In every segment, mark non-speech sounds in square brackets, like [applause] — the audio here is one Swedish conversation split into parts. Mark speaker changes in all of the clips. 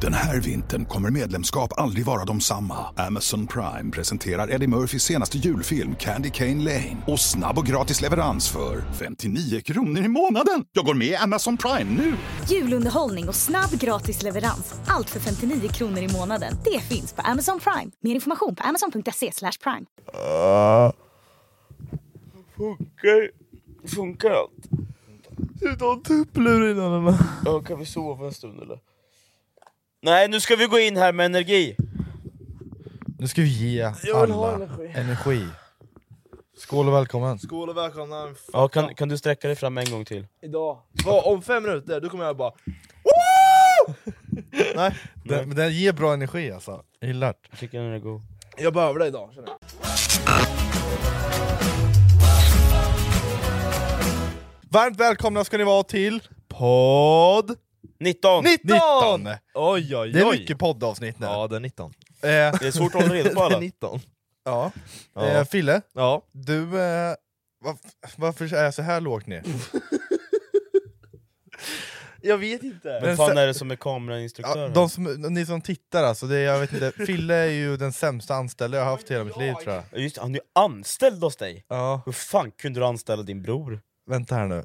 Speaker 1: Den här vintern kommer medlemskap aldrig vara de samma. Amazon Prime presenterar Eddie Murphys senaste julfilm Candy Cane Lane. Och snabb och gratis leverans för 59 kronor i månaden. Jag går med i Amazon Prime nu!
Speaker 2: Julunderhållning och snabb gratis leverans. Allt för 59 kronor i månaden. Det finns på Amazon Prime. Mer information på amazon.se slash prime.
Speaker 3: Funkar, funkar allt?
Speaker 4: Utan tupplur innan den här.
Speaker 3: Ja, kan vi sova en stund eller? Nej, nu ska vi gå in här med energi!
Speaker 4: Nu ska vi ge
Speaker 3: Jag vill ha
Speaker 4: alla
Speaker 3: energi.
Speaker 4: energi. Skål och välkommen.
Speaker 5: Skål och välkomna en f-
Speaker 3: Ja, kan, kan du sträcka dig fram en gång till?
Speaker 5: idag. Vad, om fem minuter, då kommer jag bara
Speaker 4: Nej, den, men den ger bra energi alltså. Jag gillar det.
Speaker 3: Jag tycker den är god.
Speaker 5: Jag behöver det idag känner jag.
Speaker 4: Varmt välkomna ska ni vara till podd
Speaker 3: 19!
Speaker 4: 19!
Speaker 5: Oj oj oj!
Speaker 4: Det är mycket poddavsnitt nu.
Speaker 5: Ja det är 19.
Speaker 4: Eh,
Speaker 3: Det är svårt att hålla reda på
Speaker 5: Det
Speaker 3: alla.
Speaker 5: är 19.
Speaker 4: ja.
Speaker 5: Ja.
Speaker 4: Eh, Fille,
Speaker 5: Ja.
Speaker 4: du... Eh, varf- varför är jag så här lågt ner?
Speaker 5: Jag vet inte.
Speaker 3: Vem fan är det som är kamerainstruktör?
Speaker 4: Ja,
Speaker 3: här?
Speaker 4: de som, ni som tittar alltså, det, är- jag vet inte, Fille är ju den sämsta anställda jag har haft i hela mitt liv tror jag.
Speaker 3: Ja, Just det, han är ju anställd hos dig!
Speaker 4: Ja,
Speaker 3: Hur fan kunde du anställa din bror?
Speaker 4: vänta här nu.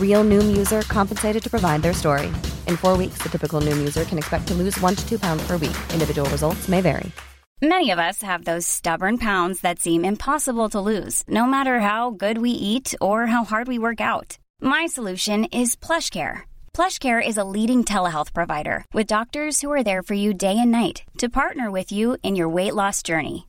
Speaker 6: Real Noom user compensated to provide their story. In four weeks, the typical Noom user can expect to lose one to two pounds per week. Individual results may vary.
Speaker 7: Many of us have those stubborn pounds that seem impossible to lose, no matter how good we eat or how hard we work out. My solution is PlushCare. PlushCare is a leading telehealth provider with doctors who are there for you day and night to partner with you in your weight loss journey.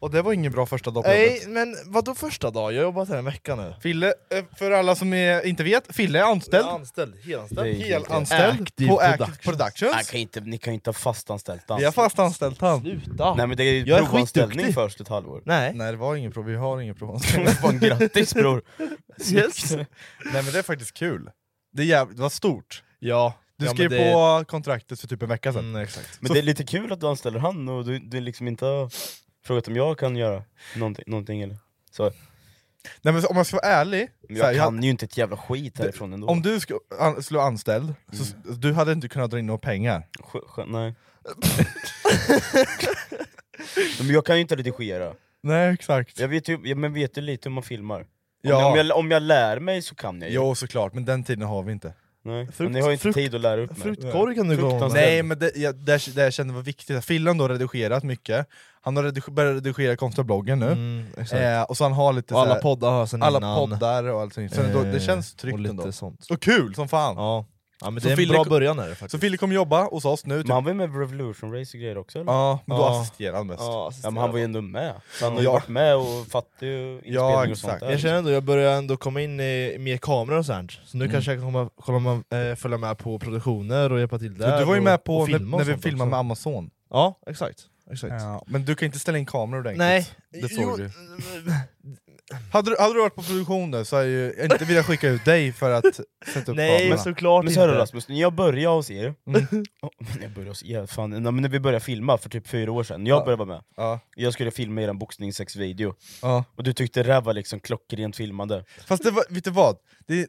Speaker 4: Och det var ingen bra första dag på
Speaker 5: Nej
Speaker 4: jobbet.
Speaker 5: men vadå första dag? Jag har jobbat här en vecka nu.
Speaker 4: Fille, eh, för alla som är, inte vet, Fille är anställd.
Speaker 5: Jag är anställd, helanställd.
Speaker 3: Det är helt rätt.
Speaker 4: Anställd
Speaker 5: Active
Speaker 4: på Active
Speaker 5: Productions.
Speaker 4: Productions.
Speaker 3: Nej, kan inte, ni kan ju inte ha fastanställt
Speaker 4: Vi har
Speaker 3: anställd.
Speaker 4: fast anställt han.
Speaker 5: Sluta!
Speaker 3: Nej men det är ju
Speaker 5: Jag är
Speaker 3: provanställning
Speaker 5: skitduktig.
Speaker 3: först ett halvår.
Speaker 5: Nej.
Speaker 4: Nej det var ingen prov, vi har
Speaker 5: [laughs]
Speaker 4: ingen prov.
Speaker 3: Fan grattis bror!
Speaker 5: Yes.
Speaker 4: Nej men det är faktiskt kul. Det, är jävligt, det var stort.
Speaker 5: Ja.
Speaker 4: Du
Speaker 5: ja,
Speaker 4: skrev
Speaker 5: men det-
Speaker 4: på kontraktet för typ en vecka sedan.
Speaker 5: Mm, exakt.
Speaker 3: Men det är lite kul att du anställer han och du, du liksom inte har frågat om jag kan göra någonting, någonting eller? Så,
Speaker 4: Nej, men om jag ska vara ärlig,
Speaker 3: men
Speaker 4: så här,
Speaker 3: jag
Speaker 4: jag-
Speaker 3: kan ju inte ett jävla skit härifrån ändå.
Speaker 4: om du skulle an- skulle vara anställd, så s-
Speaker 5: Mm.
Speaker 4: du hade inte kunnat dra in några pengar.
Speaker 3: Sjö- sjö- nej. [laughs] men jag kan ju inte redigera.
Speaker 4: Nej exakt.
Speaker 3: Jag vet ju, ja, men vet ju lite hur man filmar. Om,
Speaker 4: Ja.
Speaker 3: jag, om, jag, om jag lär mig så kan jag ju.
Speaker 4: Jo såklart, men den tiden har vi inte.
Speaker 3: Nej.
Speaker 5: Frukt-
Speaker 3: men ni har ju inte
Speaker 5: frukt-
Speaker 3: tid att lära upp mig.
Speaker 5: Fruktkorg kan du gå om.
Speaker 3: Fruktansvärt.
Speaker 4: Nej men det, jag, det, jag- det jag kände var viktigt, Fillan då har redigerat mycket, han har redig, börjat redigera konstiga bloggen nu,
Speaker 5: Mm, exakt.
Speaker 4: eh, och så han har lite
Speaker 5: Och alla
Speaker 4: så här-
Speaker 5: poddar har sen
Speaker 4: alla
Speaker 5: innan.
Speaker 4: poddar och allting, så då, det
Speaker 5: Eh,
Speaker 4: känns tryggt
Speaker 5: och
Speaker 4: ändå.
Speaker 5: lite sånt.
Speaker 4: Och kul som fan!
Speaker 5: Ja. ja men
Speaker 4: Så
Speaker 5: det är en
Speaker 4: Fille
Speaker 5: bra
Speaker 4: kom-
Speaker 5: början är det faktiskt.
Speaker 4: Så Fille kommer jobba hos oss nu, typ.
Speaker 3: Men han var ju med på Revolution Race och grejer också eller?
Speaker 4: ja, men då
Speaker 5: Ja.
Speaker 4: assisterar han mest.
Speaker 5: Ja,
Speaker 3: Ja, men han var ju ändå med, så han har ju
Speaker 4: Ja.
Speaker 3: varit med och fattat ju inspelning och sånt
Speaker 4: exakt.
Speaker 3: där.
Speaker 5: Jag känner ändå, jag börjar ändå komma in i mer kameror och sånt, så
Speaker 4: Mm.
Speaker 5: nu kanske jag kan komma, komma, eh, följa med på produktioner och hjälpa till där.
Speaker 4: Men du var ju
Speaker 5: och,
Speaker 4: med på
Speaker 5: och
Speaker 4: när,
Speaker 5: filma och
Speaker 4: när vi
Speaker 5: sånt
Speaker 4: filmade
Speaker 5: också.
Speaker 4: med Amazon,
Speaker 5: Ja, exakt. exakt.
Speaker 4: men du kan inte ställa in kameror ordentligt.
Speaker 5: Nej,
Speaker 4: det såg du. Hade du, hade du varit på produktion där så hade jag ju inte velat skicka ut dig för att sätta upp
Speaker 5: Nej men
Speaker 4: kablarna.
Speaker 5: såklart
Speaker 3: Men så här då,
Speaker 5: inte. Mm.
Speaker 3: Rasmus, när jag började hos er, [laughs] Ja, men jag började hos er, fan, nej, men när vi började filma för typ fyra år sedan, när jag
Speaker 4: Ja.
Speaker 3: började vara med,
Speaker 4: Ja,
Speaker 3: jag skulle filma er en boxningssexvideo,
Speaker 4: ja.
Speaker 3: och du tyckte det här var liksom klockrent filmande.
Speaker 4: Fast det var, vet du vad? Det,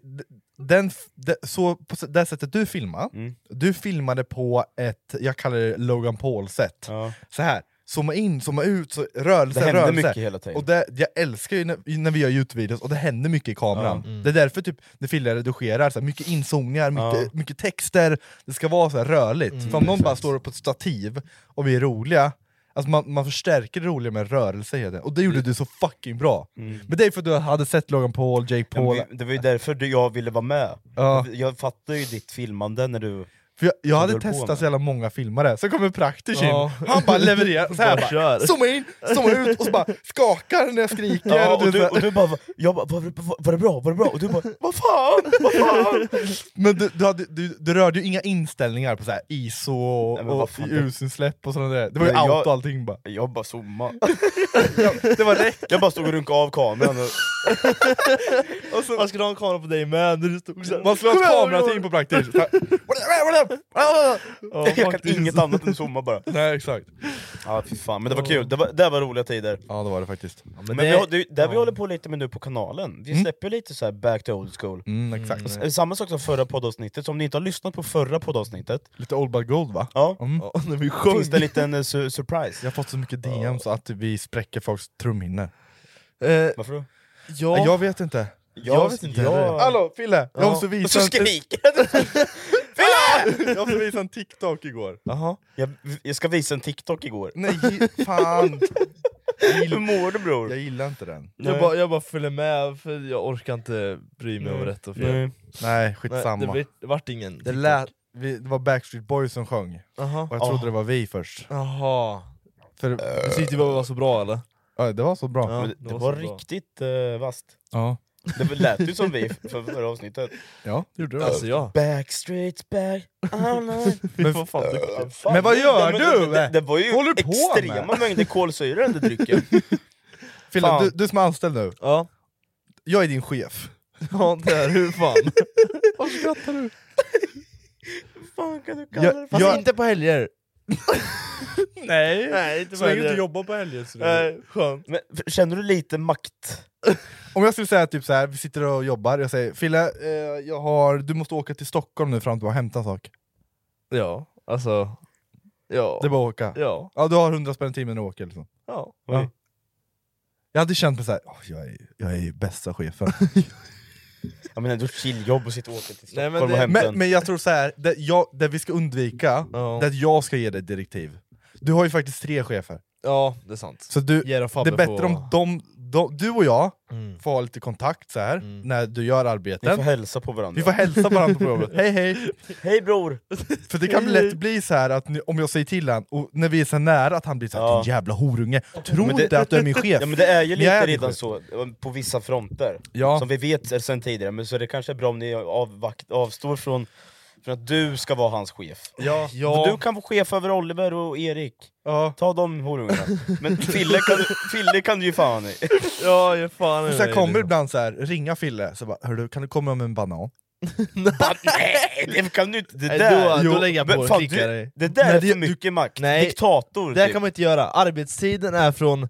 Speaker 4: den, det, så på s- det sättet du filmade,
Speaker 3: Mm.
Speaker 4: du filmade på ett, jag kallar det Logan Paul-sätt.
Speaker 3: Ja.
Speaker 4: Så här, zooma in, zooma ut, så,
Speaker 3: Det
Speaker 4: rörelse,
Speaker 3: hände
Speaker 4: rörelse.
Speaker 3: mycket hela tiden.
Speaker 4: Och det, jag älskar ju när, när vi gör Youtube-videos och det händer mycket i kameran.
Speaker 3: Ja. Mm.
Speaker 4: Det är därför typ, när filmare redigerar, så här, mycket inzoomningar, mycket,
Speaker 3: Ja. Mm.
Speaker 4: mycket texter, det ska vara så här rörligt. För om någon bara står på ett stativ och vi är roliga, alltså man, man förstärker det roliga med rörelse hela tiden. Och det gjorde
Speaker 3: Mm.
Speaker 4: du så fucking bra. Men det är för att du hade sett Logan Paul, Jake
Speaker 3: Ja, men
Speaker 4: Paul,
Speaker 3: vi- Det var ju därför du- jag ville vara med.
Speaker 4: Ja.
Speaker 3: Jag- Jag fattar ju ditt filmande när du...
Speaker 4: För jag, jag
Speaker 3: Som
Speaker 4: hade
Speaker 3: du höll på
Speaker 4: testat
Speaker 3: med.
Speaker 4: så jävla många filmare, så kommer praktis
Speaker 5: Ja.
Speaker 4: in, han bara levererar, så
Speaker 5: Bara
Speaker 4: här bara,
Speaker 5: kör.
Speaker 4: zooma in, zooma ut, och så bara skakar när jag skriker
Speaker 3: Ja,
Speaker 4: och
Speaker 3: och,
Speaker 4: du,
Speaker 3: du,
Speaker 4: så
Speaker 3: och
Speaker 4: här.
Speaker 3: du bara, va- jag bara var, det- var, var det bra? Var det bra? Och du bara, vad fan? Vad fan?
Speaker 4: [laughs] Men du, du, hade, du, du rörde ju inga inställningar på så här ISO och,
Speaker 3: Nej, men vad
Speaker 4: och
Speaker 3: fan, det-
Speaker 4: ljusinsläpp och sådana där, det var ju
Speaker 3: Nej, jag-
Speaker 4: out och allting bara
Speaker 3: Jag
Speaker 5: [laughs]
Speaker 3: bara zoomade.
Speaker 4: Det var räck,
Speaker 3: Jag bara stod och runkade av kameran. Och...
Speaker 5: [laughs] Och så, man skulle ha en kamera på dig med när du stod såhär.
Speaker 4: man slår
Speaker 5: Kom
Speaker 4: ett
Speaker 5: här,
Speaker 4: kamerateam på praktis Så här, "What up, what up, what up?"
Speaker 5: Ja,
Speaker 3: jag kan
Speaker 5: faktiskt.
Speaker 3: inget annat än zooma bara.
Speaker 4: Nej exakt,
Speaker 3: Ja, fy fan. Men det var kul, det var, det var roliga tider.
Speaker 4: ja det var det faktiskt
Speaker 3: Men,
Speaker 5: det-
Speaker 3: vi, har- det, det vi håller på lite med nu på kanalen, vi släpper lite så här back to old school.
Speaker 4: mm, exakt.
Speaker 3: Eh, Samma sak som förra poddavsnittet, så om ni inte har lyssnat på förra poddavsnittet,
Speaker 4: Lite old but gold va?
Speaker 3: ja,
Speaker 4: Mm.
Speaker 5: Ja, när vi
Speaker 3: finns det
Speaker 5: sjöng.
Speaker 3: en liten eh, su surprise.
Speaker 4: Jag har fått så mycket DMs att vi spräcker folks trumhinnor
Speaker 5: Eh,
Speaker 3: Varför då?
Speaker 5: ja,
Speaker 4: Jag vet inte
Speaker 5: jag vet inte heller.
Speaker 4: Hallå Fille! Jag
Speaker 5: Ja.
Speaker 4: måste
Speaker 3: Och
Speaker 4: visa
Speaker 3: så
Speaker 4: en,
Speaker 3: skrik!
Speaker 4: [laughs] jag måste visa en TikTok igår.
Speaker 5: Jaha.
Speaker 3: Jag, jag ska visa en TikTok igår.
Speaker 4: Nej, fan!
Speaker 3: Hur mår du bror?
Speaker 4: Jag gillar inte den.
Speaker 5: Mm. Jag, bara, jag bara följer med för jag orkar inte bry mig om rätt och fel.
Speaker 3: Nej.
Speaker 4: Nej,
Speaker 5: Nej,
Speaker 4: skitsamma.
Speaker 5: det, blir, det vart ingen
Speaker 4: det, lät, vi, det var Backstreet Boys som sjöng,
Speaker 5: Jaha.
Speaker 4: och jag trodde det var vi först.
Speaker 5: Jaha.
Speaker 4: För,
Speaker 5: Du tyckte bara det var så bra eller?
Speaker 4: ja, det var så bra.
Speaker 5: Ja.
Speaker 4: Ja.
Speaker 3: Men det,
Speaker 5: det
Speaker 3: det
Speaker 5: var
Speaker 3: var
Speaker 5: så bra.
Speaker 3: riktigt uh, vast.
Speaker 4: ja.
Speaker 3: Det lät ju som vi för förra avsnittet.
Speaker 4: det gjorde det.
Speaker 5: Alltså ja.
Speaker 3: Backstreets back,
Speaker 5: Men vad fan duktig.
Speaker 3: Fan,
Speaker 4: Typ. Men vad
Speaker 3: det-
Speaker 4: gör
Speaker 3: det-
Speaker 4: du?
Speaker 3: Det, det, det var ju
Speaker 4: Håller du på
Speaker 3: extrema
Speaker 4: med?
Speaker 3: mängder kolsyra i den där drycken.
Speaker 4: [laughs] Fille,
Speaker 3: Fan.
Speaker 4: du, du som är anställd nu,
Speaker 5: Ja. [laughs]
Speaker 4: jag är din chef.
Speaker 5: Ja, det är hur fan.
Speaker 4: Varför skrattar du?
Speaker 3: Fan kan du kalla
Speaker 4: Jag,
Speaker 3: det för?
Speaker 5: Fast
Speaker 4: jag,
Speaker 5: inte på helger.
Speaker 4: nej,
Speaker 5: Nej, inte
Speaker 4: så länge du inte jobbar på helger så det-
Speaker 5: Nej, skönt.
Speaker 3: Eh, Men, för- känner du lite makt?
Speaker 4: Om jag skulle säga typ så här, vi sitter och jobbar, jag säger Fille, eh, jag har, du måste åka till Stockholm nu fram till och hämta en sak.
Speaker 5: Ja, alltså. Ja.
Speaker 4: Det är bara att åka.
Speaker 5: Ja.
Speaker 4: Ja, du har 100 spänn i timmen och åker liksom.
Speaker 5: ja.
Speaker 3: Oj.
Speaker 4: Jag hade känt mig såhär, "Åh, jag, är, jag är bästa
Speaker 3: [laughs]
Speaker 4: chefen.
Speaker 3: Jag menar, du har ett chilljobb och sitter och åker till
Speaker 5: Nej, men
Speaker 3: Stockholm och
Speaker 5: det-
Speaker 3: hämtar
Speaker 4: men, men jag tror såhär, det, jag, det vi ska undvika,
Speaker 5: Ja.
Speaker 4: det är att jag ska ge dig direktiv. Du har ju faktiskt tre chefer,
Speaker 5: Ja, det är sant.
Speaker 4: så du,
Speaker 5: Ge dem
Speaker 4: det
Speaker 5: Fabbe
Speaker 4: är bättre
Speaker 5: på-
Speaker 4: om de, de, du och jag
Speaker 5: Mm.
Speaker 4: får ha lite kontakt så här när du gör
Speaker 3: Mm. Ni får
Speaker 4: arbetet.
Speaker 3: hälsa på varandra.
Speaker 4: Vi får hälsa varandra på
Speaker 3: [laughs]
Speaker 4: jobbet, hej hej!
Speaker 3: Hej bror!
Speaker 4: För det kan lätt bli så här att ni, om jag säger till han och när vi är så nära, att han blir såhär
Speaker 3: Ja.
Speaker 4: din jävla horunge, tro
Speaker 3: Men det-
Speaker 4: inte att du är
Speaker 3: [laughs]
Speaker 4: min chef!
Speaker 3: Ja, men det är ju
Speaker 4: Jag
Speaker 3: lite
Speaker 4: är din
Speaker 3: redan
Speaker 4: chef.
Speaker 3: så, eh, på vissa fronter.
Speaker 4: Ja.
Speaker 3: Som vi vet sen tidigare, men så är det kanske är bra om ni avvakt, avstår från, från att du ska vara hans chef.
Speaker 4: Ja.
Speaker 3: För Du kan vara chef över Oliver och Erik.
Speaker 4: Ja.
Speaker 3: Ta de horungarna. Men Fille kan, du- Fille kan du ju fan i.
Speaker 5: Ja, ge fan i
Speaker 4: Så jag
Speaker 5: dig,
Speaker 4: kommer
Speaker 5: liksom.
Speaker 4: ibland så här, ringa Fille, så bara, Hörru, kan du komma med en banan?
Speaker 3: Bara, Nej, det kan du inte. Det
Speaker 5: Nej,
Speaker 3: där,
Speaker 5: då- då lägger jag
Speaker 3: men
Speaker 5: på och
Speaker 3: fan,
Speaker 5: klickar
Speaker 3: du-
Speaker 5: dig.
Speaker 3: det där
Speaker 4: Nej,
Speaker 3: är
Speaker 4: det-
Speaker 3: för mycket makt.
Speaker 5: Nej.
Speaker 3: Diktator.
Speaker 5: Det här
Speaker 3: typ.
Speaker 5: kan man inte göra, arbetstiden är från...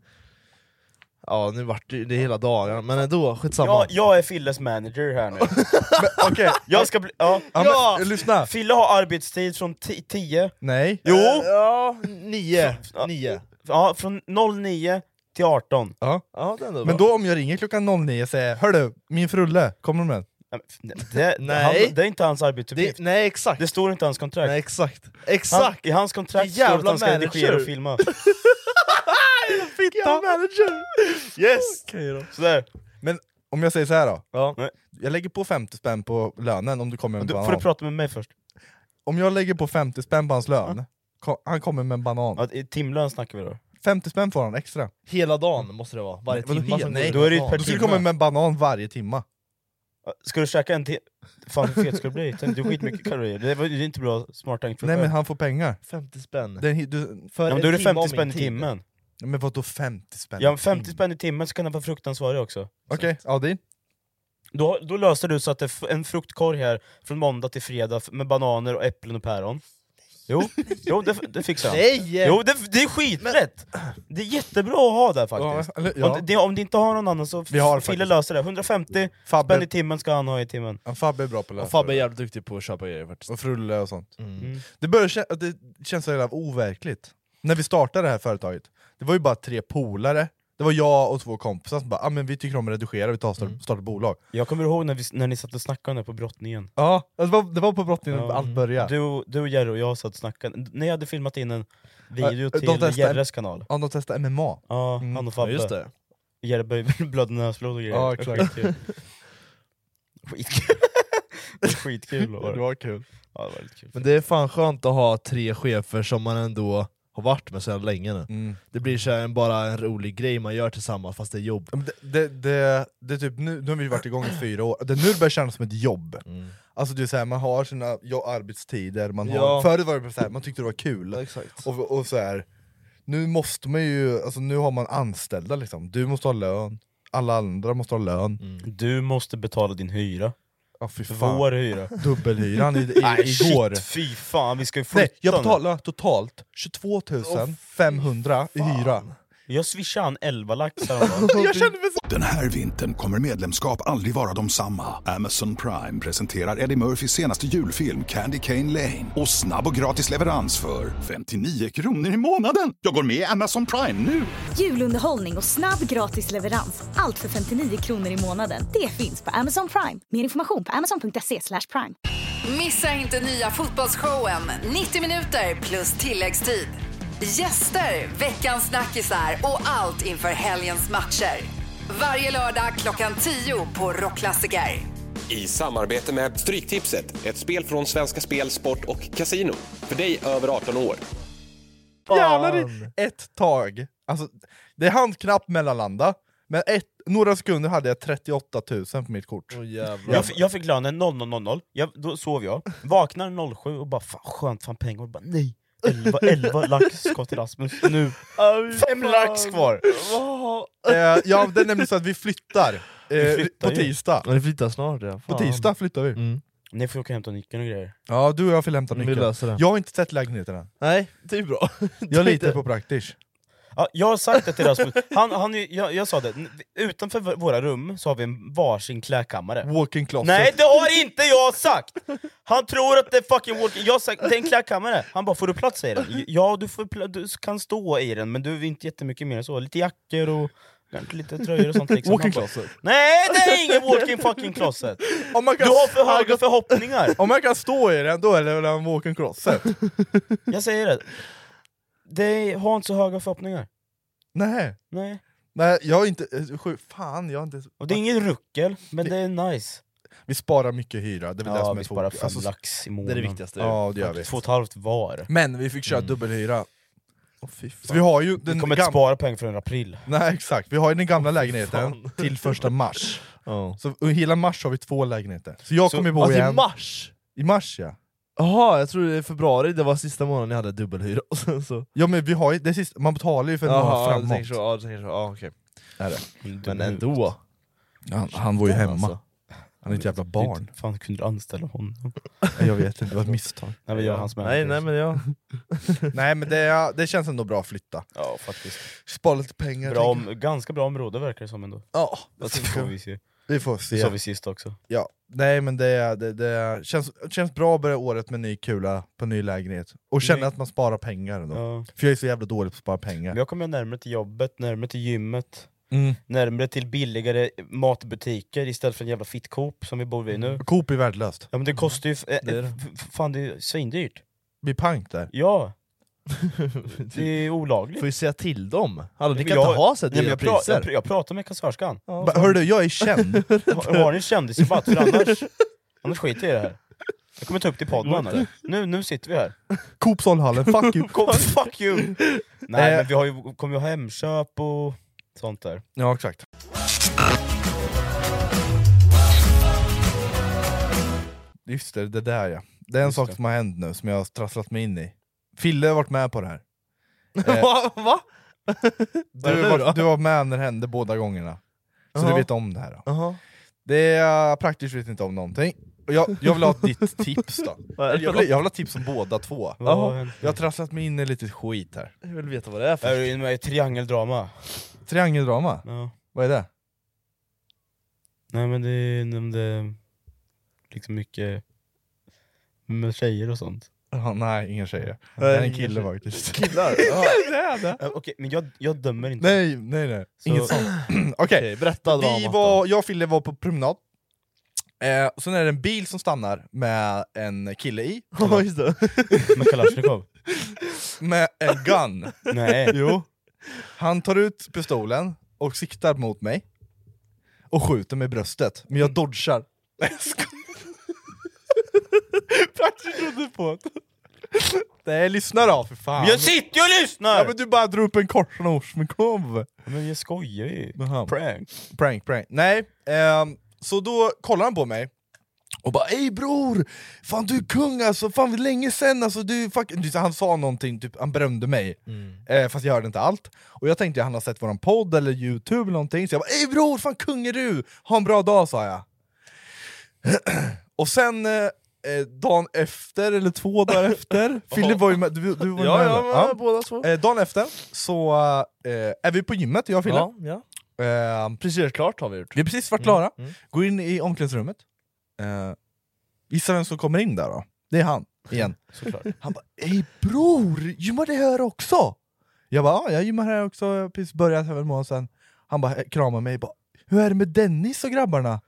Speaker 5: Ja nu vart det, det är hela dagen, men ändå, skitsamma
Speaker 3: jag, jag är Filles manager här nu.
Speaker 4: Okej,
Speaker 5: [laughs]
Speaker 3: Jag ska bli, ja.
Speaker 4: ja, men, lyssna!
Speaker 3: Fille har arbetstid från 10,
Speaker 4: Nej,
Speaker 3: jo!
Speaker 5: Ja, nio, nio
Speaker 3: Ja, från 09 till 18.
Speaker 4: ja.
Speaker 5: Ja det är ändå
Speaker 4: men
Speaker 5: bra.
Speaker 4: då om jag ringer klockan 09 och säger Hörru, min frulle, kommer du med den?"
Speaker 3: Nej, men Det,
Speaker 5: Nej.
Speaker 3: Han, det är inte hans
Speaker 5: det,
Speaker 3: arbetsuppgift. Det,
Speaker 5: Nej exakt,
Speaker 3: står inte i hans kontrakt.
Speaker 5: nej, exakt,
Speaker 3: han,
Speaker 5: exakt!
Speaker 3: I hans kontrakt
Speaker 5: Jävla
Speaker 3: står det att han ska
Speaker 5: manager.
Speaker 3: redigera och
Speaker 5: [laughs]
Speaker 3: filma.
Speaker 5: Fitta manager! Yes!
Speaker 3: Sådär.
Speaker 4: Men om jag säger så här då,
Speaker 5: Ja.
Speaker 3: Nej.
Speaker 4: jag lägger på 50 spänn på lönen om du kommer med en
Speaker 3: Du,
Speaker 4: banan
Speaker 3: får du prata med mig först?
Speaker 4: Om jag lägger på 50 spänn på hans lön, ko- han kommer med en banan
Speaker 3: Ja, i timlön snackar vi då.
Speaker 4: 50 spänn får han extra
Speaker 5: Hela dagen måste det vara, varje
Speaker 4: Vadå
Speaker 5: timme
Speaker 4: hela?
Speaker 5: som
Speaker 4: Nej.
Speaker 5: går
Speaker 3: Då är det ju
Speaker 5: dagen.
Speaker 3: per
Speaker 4: Du skulle
Speaker 3: timme.
Speaker 4: komma med en banan varje timma
Speaker 3: Ska du käka en till? Fan hur fet ska du bli? Tänk, Du är skitmycket kalorier. Det var ju inte bra smart tanke för
Speaker 4: Nej men
Speaker 3: själv.
Speaker 4: han får pengar
Speaker 5: 50 spänn
Speaker 4: det är, en hi- du,
Speaker 5: för
Speaker 3: ja, men
Speaker 5: en
Speaker 3: Då är det
Speaker 5: timme av min
Speaker 3: 50 spänn i
Speaker 5: tid.
Speaker 3: timmen.
Speaker 4: Ja, Men vadå 50 spänn?
Speaker 3: Ja, 50 spänn i timmen så kan den vara fruktansvarig också.
Speaker 4: Okej, Audin?
Speaker 3: Då, då löser du så att det är f- en fruktkorg här från måndag till fredag f- med bananer och äpplen och päron. Jo, jo det, f- det fixar han.
Speaker 5: Nej!
Speaker 3: Jo, det, det är skiträtt! Det är jättebra att ha där
Speaker 4: Ja,
Speaker 3: faktiskt.
Speaker 4: eller,
Speaker 3: Om,
Speaker 4: ja.
Speaker 3: det, om det inte har någon annan så
Speaker 4: Vi har
Speaker 3: Fille
Speaker 4: faktiskt.
Speaker 3: löser det. 150 spänn i
Speaker 4: Fabbe,
Speaker 3: timmen ska han ha i timmen.
Speaker 4: ja, Fabbe är bra på att lösa
Speaker 5: Och Fabbe är
Speaker 4: det.
Speaker 5: jävligt duktig på att köpa grejer faktiskt.
Speaker 4: och Frulle och sånt.
Speaker 3: Mm.
Speaker 4: Det, börjar, kä- att det känns så jävla overkligt. När vi startade det här företaget, det var ju bara tre polare, det var jag och två kompisar som bara ah, men vi tycker om att redigera, vi tar och
Speaker 5: Mm.
Speaker 4: startar, startar bolag.
Speaker 3: Jag kommer ihåg när, vi, när ni satt och snackade om det på brottningen.
Speaker 4: Ja, alltså, det, var, det var på brottningen
Speaker 3: Ja.
Speaker 4: allt började.
Speaker 3: Du, och- du, Jerry och jag satt och snackade, ni hade filmat in en video
Speaker 4: Äh, de
Speaker 3: till
Speaker 4: testade-
Speaker 3: Jerres kanal.
Speaker 4: Ja, de testade MMA.
Speaker 3: Ja,
Speaker 4: Mm.
Speaker 3: han och
Speaker 5: Ja,
Speaker 3: Fabbe.
Speaker 5: just det.
Speaker 3: Jerry [laughs] började blöda näsblod och grejer.
Speaker 4: Ja, exakt.
Speaker 3: [laughs] Skitkul. Skitkul. Det var Skitkul var det.
Speaker 4: var kul.
Speaker 3: Ja, det var lite kul.
Speaker 5: Men det är fan skönt att ha tre chefer som man ändå har varit med så jävla länge nu.
Speaker 4: Mm.
Speaker 5: Det blir så här en, bara en rolig grej man gör tillsammans fast det är jobb.
Speaker 4: Ja, men Det, det, det, det är typ nu, nu har vi varit igång i fyra år, det nu börjar det kännas som ett jobb.
Speaker 5: Mm.
Speaker 4: Alltså det är så här, man har sina jo- arbetstider, man har,
Speaker 5: Ja.
Speaker 4: förut var det bara så här, man tyckte det var kul.
Speaker 5: exakt.
Speaker 4: Och, och så här, nu måste man ju, alltså nu har man anställda liksom, du måste ha lön, alla andra måste ha lön.
Speaker 3: Du måste betala din hyra.
Speaker 4: Ja fy fan,
Speaker 3: Mm. Vår hyra.
Speaker 4: dubbelhyran i,
Speaker 3: [laughs]
Speaker 4: i, igår.
Speaker 3: Shit, fy fan vi ska ju flytta
Speaker 4: Nej, jag
Speaker 3: nu.
Speaker 4: betalade totalt 22 500 i hyra.
Speaker 3: Jag swishade han 11 lax häromdagen.
Speaker 4: Jag kände mig så...
Speaker 1: Den här vintern kommer medlemskap aldrig vara de samma. Amazon Prime presenterar Eddie Murphys senaste julfilm Candy Cane Lane. Och snabb och gratis leverans för 59 kronor i månaden. Jag går med i Amazon Prime nu!
Speaker 2: Julunderhållning och snabb gratis leverans. Allt för 59 kronor i månaden. Det finns på Amazon Prime. Mer information på amazon.se slash prime.
Speaker 8: Missa inte nya fotbollsshowen 90 minuter plus tilläggstid. Gäster, veckans snackisar och allt inför helgens matcher. Varje lördag klockan 10 på Rockklassiker.
Speaker 9: I samarbete med Stryktipset, ett spel från Svenska Spel, Sport och Casino. För dig över 18 år.
Speaker 4: Jävlar i ett tag! Alltså, det hann knappt mellanlanda, men ett, några sekunder hade jag 38 000 på mitt kort.
Speaker 5: Åh jävlar.
Speaker 3: jag, f- jag fick lönen 00.00, jag, då sov jag, vaknar 07 och bara fan skönt, fan pengar, och bara nej! 11, 11 lax ska till Rasmus nu, fem lax kvar!
Speaker 4: eh, ja, det är nämligen så att vi flyttar, eh,
Speaker 3: Vi flyttar
Speaker 4: på
Speaker 3: ju.
Speaker 4: tisdag.
Speaker 5: Ja, det flyttar snart ja. Fan.
Speaker 4: På tisdag flyttar vi.
Speaker 5: Mm.
Speaker 3: Ni får åka och hämta nyckeln och grejer.
Speaker 4: Ja, du och jag får hämta
Speaker 5: Vi
Speaker 4: nyckeln.
Speaker 5: löser det.
Speaker 4: Jag har inte sett lägenheten än.
Speaker 5: Nej, det är bra. [laughs]
Speaker 4: Jag litar på praktisch.
Speaker 3: Ja, jag har sagt det till Rasmus, han, han, är- jag, jag sa det, n- utanför v- våra rum så har vi en varsin klädkammare.
Speaker 4: Walk-in closet.
Speaker 3: Nej det har inte jag sagt! Han tror att det är fucking walk Jag har sagt det är en klädkammare, han bara 'Får du plats i den?' Ja du, får pla- du kan stå i den, men du är inte jättemycket mer än så, lite jackor och lite tröjor och sånt liksom
Speaker 4: Walk-in
Speaker 3: Han bara,
Speaker 4: closet.
Speaker 3: Nej det är ingen walk-in fucking closet!
Speaker 4: Om man,
Speaker 3: Du
Speaker 4: kan,
Speaker 3: har för höga förhoppningar!
Speaker 4: om man kan stå i den, då är det väl en walk-in closet?
Speaker 5: [laughs]
Speaker 3: Jag säger det, det är, ha inte så höga förhoppningar
Speaker 4: Nej.
Speaker 3: Nej.
Speaker 4: Nej, jag har inte... eh, sju- Fan, jag har inte...
Speaker 3: Och det är ingen ruckel, men det är nice
Speaker 4: Vi sparar mycket hyra, det är väl det
Speaker 3: Ja
Speaker 4: som är Alltså,
Speaker 3: vi sparar
Speaker 4: fokus.
Speaker 3: fem lax i
Speaker 5: Det är det
Speaker 3: månaden
Speaker 5: viktigaste.
Speaker 4: Ja, det gör vi.
Speaker 3: Två och ett halvt var
Speaker 4: Men vi fick köra
Speaker 5: Mm.
Speaker 4: dubbelhyra.
Speaker 5: Åh, fy fan.
Speaker 4: Så vi har ju
Speaker 3: Vi
Speaker 4: den
Speaker 3: kommer inte
Speaker 4: gamla...
Speaker 3: spara pengar förrän april
Speaker 4: Nej, exakt. Vi har ju den
Speaker 5: [laughs]
Speaker 4: gamla lägenheten till första mars.
Speaker 5: Ja.
Speaker 4: Så och hela mars har vi två lägenheter. Så jag kommer bo
Speaker 5: alltså, i
Speaker 4: igen...
Speaker 5: mars!
Speaker 4: I mars ja.
Speaker 5: Jaha, jag trodde i februari det var sista månaden jag hade dubbelhyra. Och sen så...
Speaker 4: Ja men vi har ju, det är sist, man betalar ju för en månad
Speaker 5: Jaha, du
Speaker 4: framåt.
Speaker 5: tänker så. Ja, du tänker så. Ja, okej.
Speaker 4: Är det.
Speaker 5: Men ändå.
Speaker 4: Han, han var ju hemma,
Speaker 5: Alltså.
Speaker 4: han är ett jävla barn.
Speaker 3: Fan kunde du anställa honom?
Speaker 4: Nej, jag vet inte, det var ett misstag.
Speaker 3: Nej men jag och hans manager.
Speaker 5: Nej, nej men jag...
Speaker 4: [laughs] Nej men det, är- det känns ändå bra att flytta.
Speaker 3: Ja faktiskt.
Speaker 4: Spara lite pengar.
Speaker 3: Bra,
Speaker 4: tänker
Speaker 3: om, ganska bra område verkar det som ändå.
Speaker 4: jag. Ja, det
Speaker 3: Det
Speaker 4: funkar.
Speaker 3: får vi se.
Speaker 4: vi får
Speaker 3: Det sa
Speaker 4: se.
Speaker 3: vi sist också.
Speaker 4: Ja. Nej men det, är- det, det känns, känns bra att börja året med ny kula på ny lägenhet. Och känna att man sparar pengar ändå.
Speaker 3: Mm. Ja.
Speaker 4: För jag är så jävla dålig på att spara
Speaker 3: Men
Speaker 4: pengar.
Speaker 3: jag kommer närmare till jobbet, närmare till gymmet,
Speaker 4: Mm.
Speaker 3: närmare till billigare matbutiker istället för en jävla fittkoop som vi bor vid nu.
Speaker 4: Coop är värdelöst.
Speaker 3: Ja men det kostar ju... F- eh,
Speaker 5: Det är det.
Speaker 3: f- f- fan det är svindyrt.
Speaker 4: Vi pank där.
Speaker 3: Ja,
Speaker 5: [laughs]
Speaker 3: det är olagligt.
Speaker 5: Får ju säga till dem. Hallå, ni
Speaker 3: Men
Speaker 5: kan
Speaker 3: jag-
Speaker 5: inte ha så här
Speaker 3: Nej, men
Speaker 5: dyra
Speaker 3: jag, pra-
Speaker 5: priser.
Speaker 3: jag, pr- jag pratar med kassörskan.
Speaker 4: Ba, hörru du, jag
Speaker 5: [laughs]
Speaker 4: är känd.
Speaker 5: typ.
Speaker 3: Har, har ni en kändisrabatt? För annars, annars skiter jag i det här. Jag kommer ta upp det i podden annars. Nu, nu sitter vi här.
Speaker 4: Coop Solhallen, fuck you.
Speaker 3: Kom, fuck you! Nej
Speaker 4: Eh.
Speaker 3: men vi har ju, kommer ju ha Hemköp och sånt där.
Speaker 4: Ja exakt. Just det, det där ja. Det är en
Speaker 3: Just
Speaker 4: sak
Speaker 3: det. Eh.
Speaker 4: som har hänt nu som jag har trasslat mig in i. Fille har varit med på det här.
Speaker 5: Va? Va?
Speaker 4: Du
Speaker 5: det nu då?
Speaker 4: var, du var med när det hände båda gångerna. Så
Speaker 5: Jaha.
Speaker 4: du vet om det här. Då.
Speaker 5: Jaha.
Speaker 4: Det är, praktiskt vet inte om någonting. Och Jag, jag vill ha ditt tips
Speaker 5: [laughs]
Speaker 4: då.
Speaker 3: är
Speaker 4: Jag
Speaker 3: det
Speaker 4: vill, jag vill ha tips om båda två.
Speaker 3: Jaha.
Speaker 4: Jag har trasslat mig in i lite skit här.
Speaker 5: Jag vill veta vad det är
Speaker 3: Är
Speaker 5: för...
Speaker 3: du med i triangeldrama?
Speaker 4: Triangeldrama,
Speaker 3: Ja.
Speaker 4: vad är det?
Speaker 3: Nej men det är när det, liksom mycket med tjejer och sånt.
Speaker 4: Jaha, nej, ingen tjejer. Det här är en kille faktiskt. [laughs]
Speaker 5: Killar? Ja.
Speaker 3: Eh, Okej, men jag, jag dömer inte.
Speaker 4: Nej, nej, nej. Inget
Speaker 3: [clears throat]
Speaker 4: sånt. liksom. Okej,
Speaker 5: Okej, berätta
Speaker 4: Vi
Speaker 5: dramat
Speaker 4: var,
Speaker 5: då.
Speaker 4: jag och Fille var på promenad, eh, sen är det en bil som stannar med en kille i,
Speaker 5: Ja, just det.
Speaker 3: Med Kalashnikov?
Speaker 4: med en gun.
Speaker 3: Nej.
Speaker 4: jo. Han tar ut pistolen och siktar mot mig, och skjuter mig i bröstet, men jag dodgar. [laughs] Nej, jag skojar. Praktiskt trodde på [laughs] det. Nej, lyssna då för fan!
Speaker 3: Men jag sitter ju och lyssnar!
Speaker 4: ja, men du bara drog upp en korsnordsmikrov!
Speaker 3: Men jag skojar ju.
Speaker 4: Jaha.
Speaker 3: Prank.
Speaker 4: Prank, prank. Nej, ehm, så då kollar han på mig och bara ey bror, fan du är kung alltså, fan det är länge sen alltså, du är fuck... Du vet, Han sa någonting, typ, han berömde mig,
Speaker 5: Mm.
Speaker 4: eh, fast jag hörde inte allt. Och jag tänkte han har sett våran podd eller youtube eller någonting, så jag bara ey bror, fan kung är du, ha en bra dag sa jag. [clears throat] och sen eh, eh, dagen efter, eller
Speaker 5: [laughs]
Speaker 4: två dagar efter, Fille var ju med, du, du var ju
Speaker 5: Ja,
Speaker 4: med
Speaker 5: ja,
Speaker 4: eller?
Speaker 5: men
Speaker 4: Ja.
Speaker 5: båda två.
Speaker 4: Eh, dagen efter så eh, är vi på gymmet, jag och Fille.
Speaker 5: Ja, ja.
Speaker 4: Eh,
Speaker 5: Ehm, Precis gjort klart har vi gjort. Mm,
Speaker 4: vi har precis varit klara, går in i omklädningsrummet eh, Gissa vem som kommer in där då? Det är han,
Speaker 5: [laughs]
Speaker 4: igen
Speaker 3: Såklart.
Speaker 4: Han bara ey bror, gymmar det här också?” Jag bara “Ja, jag gymmar här också, jag har precis börjat här för en månad sedan” Han bara eh, kramar mig bara “Hur är det med Dennis och grabbarna?”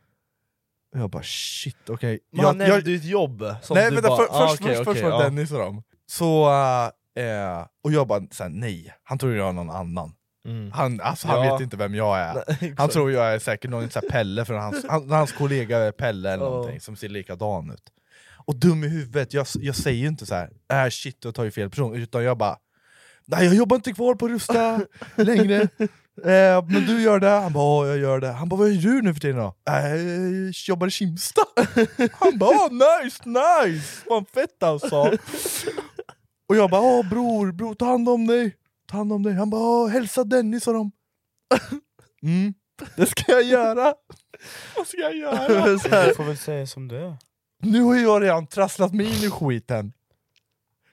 Speaker 4: Och jag bara “Shit, okej”
Speaker 5: Man jag,
Speaker 4: Jag- jag-
Speaker 5: nämnde ju ett jobb som
Speaker 4: Nej
Speaker 5: du
Speaker 4: vänta,
Speaker 5: bara,
Speaker 4: för,
Speaker 5: ah,
Speaker 4: först,
Speaker 5: okej,
Speaker 4: först,
Speaker 5: okej,
Speaker 4: först var det
Speaker 5: ja.
Speaker 4: Dennis och dem Så, eh, eh, och jag bara såhär, nej, han tror jag är någon annan
Speaker 3: [laughs]
Speaker 5: Mm.
Speaker 4: Han, alltså, han
Speaker 5: Ja.
Speaker 4: vet inte vem jag är han tror jag är säkert någon så här Pelle, för hans, han, hans kollega är Pelle eller
Speaker 5: Ja.
Speaker 4: någonting som ser likadan ut. Och dum i huvudet, jag, jag säger ju inte så här, äh, shit jag tar ju fel person, utan jag bara Nej jag jobbar inte kvar på Rusta längre, eh, men du gör det, han bara "Ja, jag gör det, han bara vad gör du nu för tiden då? Äh, jag jobbar i Kimsta, han bara "Ah, nice nice, fan fett alltså Och jag bara åh bror, bror ta hand om dig, ta hand om dig, han bara "Ja, hälsa Dennis och dem Mm. Det ska jag göra! Vad ska jag göra?
Speaker 3: Men Du får väl säga som det är.
Speaker 4: [laughs] Nu har jag redan trasslat mig in i skiten.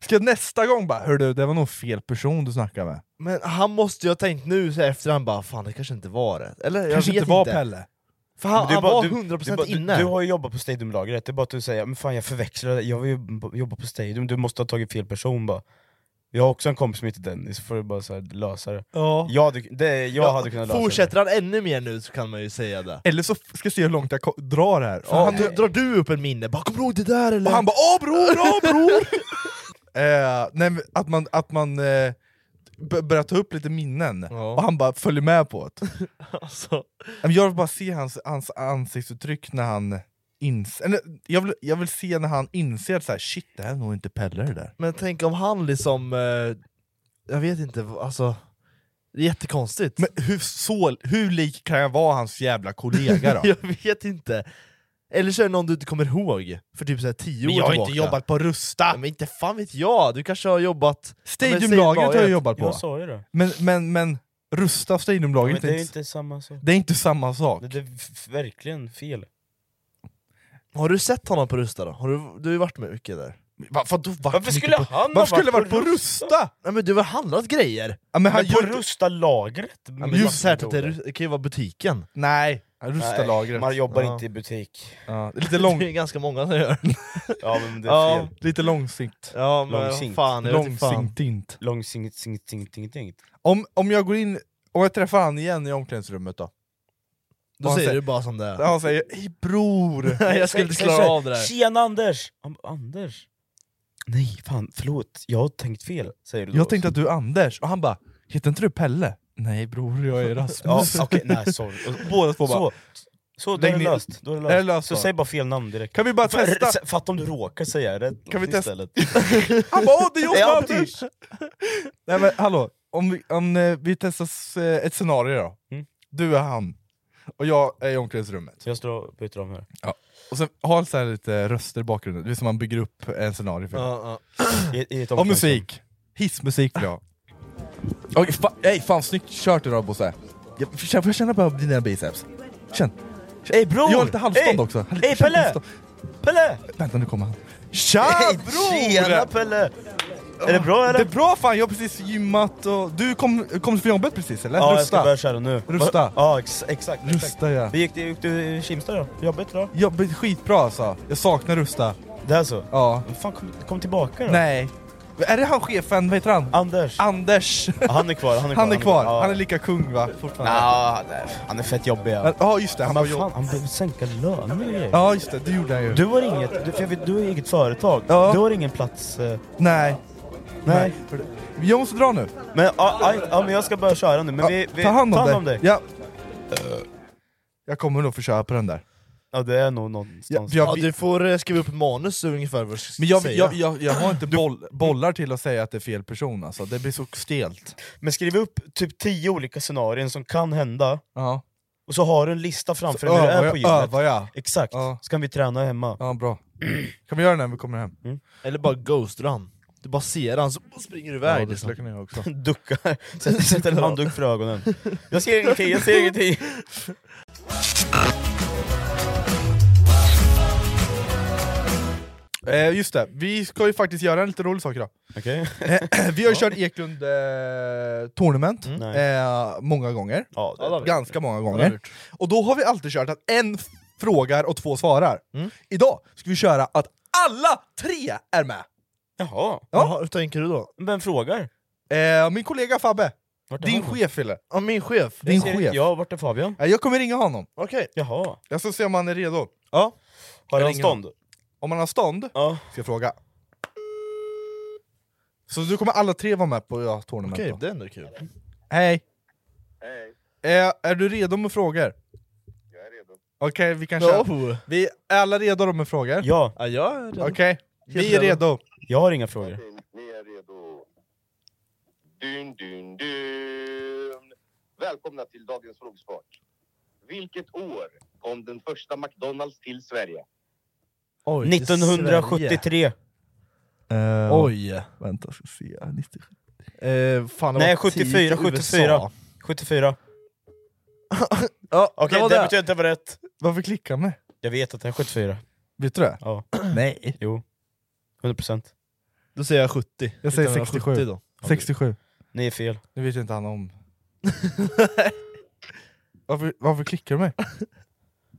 Speaker 4: Ska jag nästa gång bara Hör du, det var nog fel person du snackade med.
Speaker 5: Men han måste ju ha tänkt nu så här efterhand bara, fan det kanske inte var det. Eller jag
Speaker 4: Kanske
Speaker 5: vet
Speaker 4: inte var Pelle.
Speaker 5: För han,
Speaker 3: Men det är
Speaker 5: han
Speaker 3: bara-
Speaker 5: var
Speaker 3: du-
Speaker 5: 100%
Speaker 3: du bara-
Speaker 5: inne.
Speaker 3: Du, du har ju jobbat på stadiumlagret, det är bara att du säger men fan jag förväxlade, jag vill ju jobba på stadium, du måste ha tagit fel person bara. Jag har också en kompis som heter Dennis, så får du bara så här, lösa det.
Speaker 5: ja.
Speaker 3: Jag hade, det, jag hade kunnat lösa
Speaker 5: Fortsätter han ännu mer nu så kan man ju säga det.
Speaker 4: Eller så f- ska jag se hur långt jag ko- drar det här.
Speaker 5: Ja,
Speaker 4: han,
Speaker 5: dr- drar du upp en minne, bara kommer du ihåg det där eller?
Speaker 4: och han bara åh bror, åh
Speaker 5: [laughs]
Speaker 4: bror! eh, nej, men att man, att man eh, b- börjar ta upp lite minnen,
Speaker 5: Ja.
Speaker 4: och han bara följer med på det.
Speaker 5: [laughs] alltså,
Speaker 4: Men Jag vill bara se hans, hans ansiktsuttryck när han inser... Eller, jag, vill, jag vill se när han inser att så här, shit, det här är nog inte Pelle det där.
Speaker 5: Men tänk om han liksom, eh, jag vet inte, alltså det är jättekonstigt.
Speaker 4: Men hur, så, hur lik kan jag vara hans jävla kollega då?
Speaker 5: [laughs] jag vet inte. Eller så är det någon du inte kommer ihåg, för typ så här tio
Speaker 4: Men
Speaker 5: år
Speaker 4: jag har
Speaker 5: tillbaka.
Speaker 4: inte jobbat på Rusta!
Speaker 5: Nej, men inte fan vet jag, du kanske har jobbat...
Speaker 4: Stadiumlaget har jag jobbat
Speaker 3: det. Jag
Speaker 4: på.
Speaker 3: sa ju det.
Speaker 4: Men, men, men Rusta och
Speaker 3: Men
Speaker 4: Stadiumlaget,
Speaker 3: det
Speaker 4: är
Speaker 3: är
Speaker 4: inte,
Speaker 3: inte samma sak.
Speaker 4: det är inte samma sak.
Speaker 3: Det, det är f- verkligen fel.
Speaker 5: Har du sett honom på Rusta då? Har du, du har ju varit med mycket där.
Speaker 4: Va, vadå, vart-
Speaker 3: Varför skulle
Speaker 4: på,
Speaker 3: han ha
Speaker 4: varför skulle
Speaker 3: varit
Speaker 4: varit
Speaker 3: på
Speaker 4: på Rusta?
Speaker 5: Nej men du har handlat grejer!
Speaker 4: Ja, men han
Speaker 3: Men på
Speaker 4: gör,
Speaker 3: Rusta lagret?
Speaker 5: Ja, men Just det, det, är Ru- det kan ju vara butiken.
Speaker 4: nej,
Speaker 3: Nej,
Speaker 4: Rusta-lagret.
Speaker 3: man jobbar
Speaker 5: Ja.
Speaker 3: inte i butik.
Speaker 4: Ja,
Speaker 5: [laughs]
Speaker 4: lite,
Speaker 5: Det
Speaker 4: lång,
Speaker 5: är ganska många som gör.
Speaker 3: Ja men det är
Speaker 5: Ja.
Speaker 3: fel.
Speaker 4: lite långsikt.
Speaker 5: Ja men
Speaker 3: Långsinkt.
Speaker 5: fan, jag vet inte fan.
Speaker 4: Långsiktint.
Speaker 3: Långsinget, singet, singet, inget, inget.
Speaker 4: Om, om jag går in, om jag träffar han igen i omklädningsrummet då?
Speaker 5: Då
Speaker 4: Han
Speaker 5: säger
Speaker 4: säger-
Speaker 5: du bara som det är.
Speaker 4: Där
Speaker 5: [laughs]
Speaker 4: han säger hej bror!
Speaker 5: Nej, jag
Speaker 4: [laughs]
Speaker 5: skulle inte klara av det där.
Speaker 3: Tjena Anders! Han bara, Anders? Nej fan, förlåt, jag har tänkt fel, säger du då.
Speaker 4: Jag tänkte att du är Anders, och han bara Heter inte du Pelle? Nej bror,
Speaker 5: [laughs]
Speaker 4: jag är
Speaker 3: Ja,
Speaker 4: Rasmus.
Speaker 3: okej, nej sorry. Och-
Speaker 4: Båda två bara
Speaker 3: Så, så då
Speaker 4: Lägg
Speaker 3: är det
Speaker 4: ner.
Speaker 3: löst. Då är det
Speaker 4: Är det
Speaker 3: löst.
Speaker 4: löst
Speaker 3: så
Speaker 4: då?
Speaker 3: säg bara fel namn direkt.
Speaker 4: Kan vi bara
Speaker 5: [laughs]
Speaker 4: testa?
Speaker 3: F- [laughs] Fatta om du råkar säga rätt
Speaker 4: Kan vi testa?
Speaker 3: istället.
Speaker 4: Han bara åh det är
Speaker 3: Är jag
Speaker 4: jag som är Anders! Nej men hallå, om vi, om, eh, vi testar s- eh, ett scenario då.
Speaker 3: Mm.
Speaker 4: Du är han, och jag är i omklädningsrummet.
Speaker 3: Så jag står och byter om här.
Speaker 4: Och sen har så här lite röster i bakgrunden, det är som man bygger upp en scenario för.
Speaker 5: Ja, ja.
Speaker 3: I, i ett
Speaker 4: Och musik! Hissmusik vill jag ha. Okej, fa ey, fan snyggt kört idag Bosse. Jag, får jag känna på dina biceps? Känn.
Speaker 3: Ey bror!
Speaker 4: Jag har lite halsband
Speaker 3: Ey!
Speaker 4: också. Känn
Speaker 3: Ey Pelle!
Speaker 4: halsband.
Speaker 3: Pelle!
Speaker 4: Vänta nu kommer han.
Speaker 5: Tja
Speaker 3: Ey, Tjena
Speaker 5: bror!
Speaker 3: Pelle! Är det bra
Speaker 4: Ah, Det är
Speaker 3: eller?
Speaker 4: bra fan, jag har precis gymmat och... Du kom, kom från jobbet precis eller?
Speaker 3: Ja, jag ska
Speaker 4: Rusta.
Speaker 3: börja köra nu.
Speaker 4: Rusta.
Speaker 3: Ja, ex exakt. exakt.
Speaker 4: Rusta ja.
Speaker 3: Hur gick det gick du i Kimstad då? Jobbigt idag?
Speaker 4: Jobbet skitbra alltså. Jag saknar Rusta.
Speaker 3: Det är så?
Speaker 4: Ja.
Speaker 3: Men Fan, kom, kom tillbaka då.
Speaker 4: Nej. Är det han chefen, vad heter han?
Speaker 3: Anders. [laughs]
Speaker 4: Anders!
Speaker 3: Han är kvar, han är kvar.
Speaker 4: Han är kvar,
Speaker 3: Ja.
Speaker 4: han är lika kung va? Fortfarande.
Speaker 3: Ja, det är- han är fett jobbig. Ja,
Speaker 4: Men- Ja just det, han var
Speaker 3: Men
Speaker 4: jobb...
Speaker 3: fan, han behöver sänka löner och grejer.
Speaker 4: Ja just det, det gjorde han ju.
Speaker 3: Du har inget, du, för jag vet, du har eget företag.
Speaker 4: Ja.
Speaker 3: Du har ingen plats. eh,
Speaker 4: Nej.
Speaker 3: nej.
Speaker 4: Jag måste dra nu.
Speaker 3: Men, ja, ja, ja, men jag ska börja köra nu. Men
Speaker 4: Ja,
Speaker 3: vi, vi,
Speaker 4: ta hand om,
Speaker 3: ta
Speaker 4: dig.
Speaker 3: hand om dig. Eh.
Speaker 4: Ja. Jag kommer nog få köra på den där.
Speaker 3: Ja, det är nog
Speaker 4: Ja,
Speaker 3: någonstans.
Speaker 5: Ja,
Speaker 4: jag,
Speaker 5: du får eh, skriva upp manus ungefär vad du ska
Speaker 4: men jag,
Speaker 5: säga.
Speaker 4: jag, jag, jag har inte boll, bollar till att säga att det är fel person alltså, det blir så stelt.
Speaker 3: Men skriv upp typ tio olika scenarion som kan hända,
Speaker 4: Ja.
Speaker 3: och så har du en lista framför dig när du
Speaker 4: Övar
Speaker 3: är på
Speaker 4: jag,
Speaker 3: gymmet.
Speaker 4: övar jag.
Speaker 3: Exakt,
Speaker 4: Ja.
Speaker 3: så kan vi träna hemma.
Speaker 4: Ja bra. Kan vi göra det när vi kommer hem?
Speaker 5: Eller bara ghostar han. Du bara ser han, så springer du iväg.
Speaker 4: ja, det
Speaker 5: liksom.
Speaker 4: skulle jag kunna göra också.
Speaker 5: [laughs]
Speaker 3: Ducka, sätt, sätt en handduk för ögonen. Jag ser ingenting, jag
Speaker 5: [laughs]
Speaker 3: ser ingenting!
Speaker 4: Eh, just det, vi ska ju faktiskt göra en lite rolig
Speaker 3: [laughs]
Speaker 4: sak idag.
Speaker 3: Okej?
Speaker 4: [clears throat] vi har ju kört Eklund eh, Tournament eh, många gånger.
Speaker 3: Mm. Ja, det-
Speaker 4: Ganska många gånger. Och då har vi alltid kört att en f- frågar och två svarar.
Speaker 3: Mm.
Speaker 4: Idag ska vi köra att alla tre är med!
Speaker 3: Jaha,
Speaker 5: Jaha, hur tänker du då?
Speaker 3: vem frågar?
Speaker 4: Eh, min kollega Fabbe,
Speaker 3: Vart är
Speaker 4: din
Speaker 3: han?
Speaker 4: chef eller?
Speaker 5: Ja, min chef.
Speaker 4: Din
Speaker 3: Ser inte
Speaker 4: chef.
Speaker 3: Jag, vart är Fabian?
Speaker 4: Eh, Jag kommer ringa honom,
Speaker 5: Okej.
Speaker 3: Jaha,
Speaker 4: jag ska se om han är redo. Ja.
Speaker 3: har
Speaker 4: Jag
Speaker 3: han
Speaker 4: ringer
Speaker 3: stånd?
Speaker 4: Om han har stånd,
Speaker 3: Ja.
Speaker 4: ska jag fråga. Så du kommer alla tre vara med på ja, Tournament
Speaker 5: Okej,
Speaker 4: då?
Speaker 5: det är ändå kul.
Speaker 4: Hej! Hej! Eh, är du redo med frågor? Jag är redo. Okej, vi kan köra.
Speaker 5: Ja,
Speaker 4: Vi är alla redo då med frågor?
Speaker 3: Ja,
Speaker 5: ja, jag är redo.
Speaker 4: Okej, vi är redo.
Speaker 3: jag har inga frågor.
Speaker 9: Ni är redo. Dun, dun, dun. Välkomna till dagens frågesport. Vilket år kom den första McDonalds till Sverige?
Speaker 5: Oj, det är Sverige.
Speaker 3: 1973!
Speaker 5: Oj.
Speaker 4: Vänta, ska se. 90.
Speaker 5: Eh, fan, det
Speaker 3: Nej,
Speaker 5: var
Speaker 3: 74,
Speaker 5: 10 i
Speaker 3: 74.
Speaker 5: USA.
Speaker 3: 74.
Speaker 5: Ja,
Speaker 3: Okej,
Speaker 5: det var
Speaker 3: det
Speaker 5: det.
Speaker 3: betyder inte var rätt.
Speaker 4: Varför klickar man?
Speaker 3: Jag vet att det
Speaker 5: [clears throat]
Speaker 3: är 74.
Speaker 4: Vet du det?
Speaker 3: Ja.
Speaker 4: Nej.
Speaker 3: Jo. 100%.
Speaker 5: Då säger jag 70.
Speaker 4: Jag säger
Speaker 5: 1970
Speaker 4: 67.
Speaker 5: Då.
Speaker 4: 67.
Speaker 3: Ni är fel.
Speaker 4: Nu vet ju inte
Speaker 5: [laughs]
Speaker 4: han om. varför, varför klickar du mig?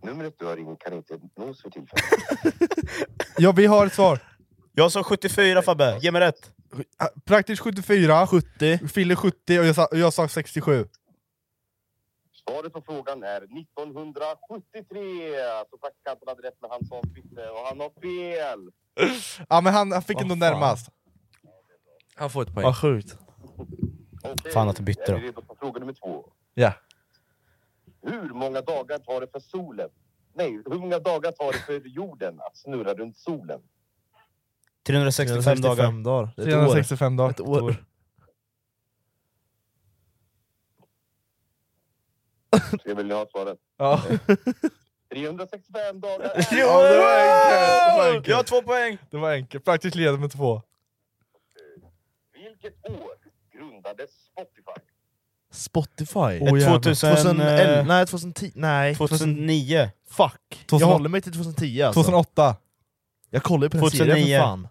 Speaker 9: Numret du har ringt kan inte nås för tillfället.
Speaker 4: Ja, vi har ett svar.
Speaker 3: Jag sa 74 Fabbe, ge mig rätt!
Speaker 4: Ah, Praktiskt 74,
Speaker 5: 70.
Speaker 4: Fille 70 och jag sa, och jag sa 67.
Speaker 9: Svaret på frågan är 1973. Så praktikanten hade rätt när han sa fitte eh, och han har fel.
Speaker 4: Ja, men han, han fick ändå
Speaker 5: fan.
Speaker 4: närmast. Han får ett poäng.
Speaker 5: Vad sjukt.
Speaker 9: Okej,
Speaker 3: Fan att du bytte
Speaker 9: Är
Speaker 3: då.
Speaker 9: vi redo på fråga nummer två?
Speaker 4: Ja.
Speaker 9: Hur många dagar tar det för solen? Nej, hur många dagar tar det för jorden att snurra runt solen?
Speaker 3: 365 dagar.
Speaker 5: dagar. Det är ett år.
Speaker 4: 365 dagar.
Speaker 5: Ett år.
Speaker 9: Det vill ni ha svaret.
Speaker 4: Ja.
Speaker 9: 365
Speaker 5: [laughs]
Speaker 9: dagar.
Speaker 4: Ja, det var enkelt. Det var enkelt.
Speaker 3: Jag har två poäng!
Speaker 4: Det var enkelt. Praktiskt leder med två.
Speaker 9: Vilket år grundades Spotify?
Speaker 5: Spotify?
Speaker 4: Åh, jävlar.
Speaker 3: 2000,
Speaker 5: 2011?
Speaker 3: eh,
Speaker 5: nej, 2010? Nej.
Speaker 3: 2009.
Speaker 5: Fuck!
Speaker 4: 2008.
Speaker 5: Jag håller mig till 2010 alltså.
Speaker 4: 2008.
Speaker 5: Jag kollar ju på den
Speaker 3: 2009.
Speaker 5: serien för fan.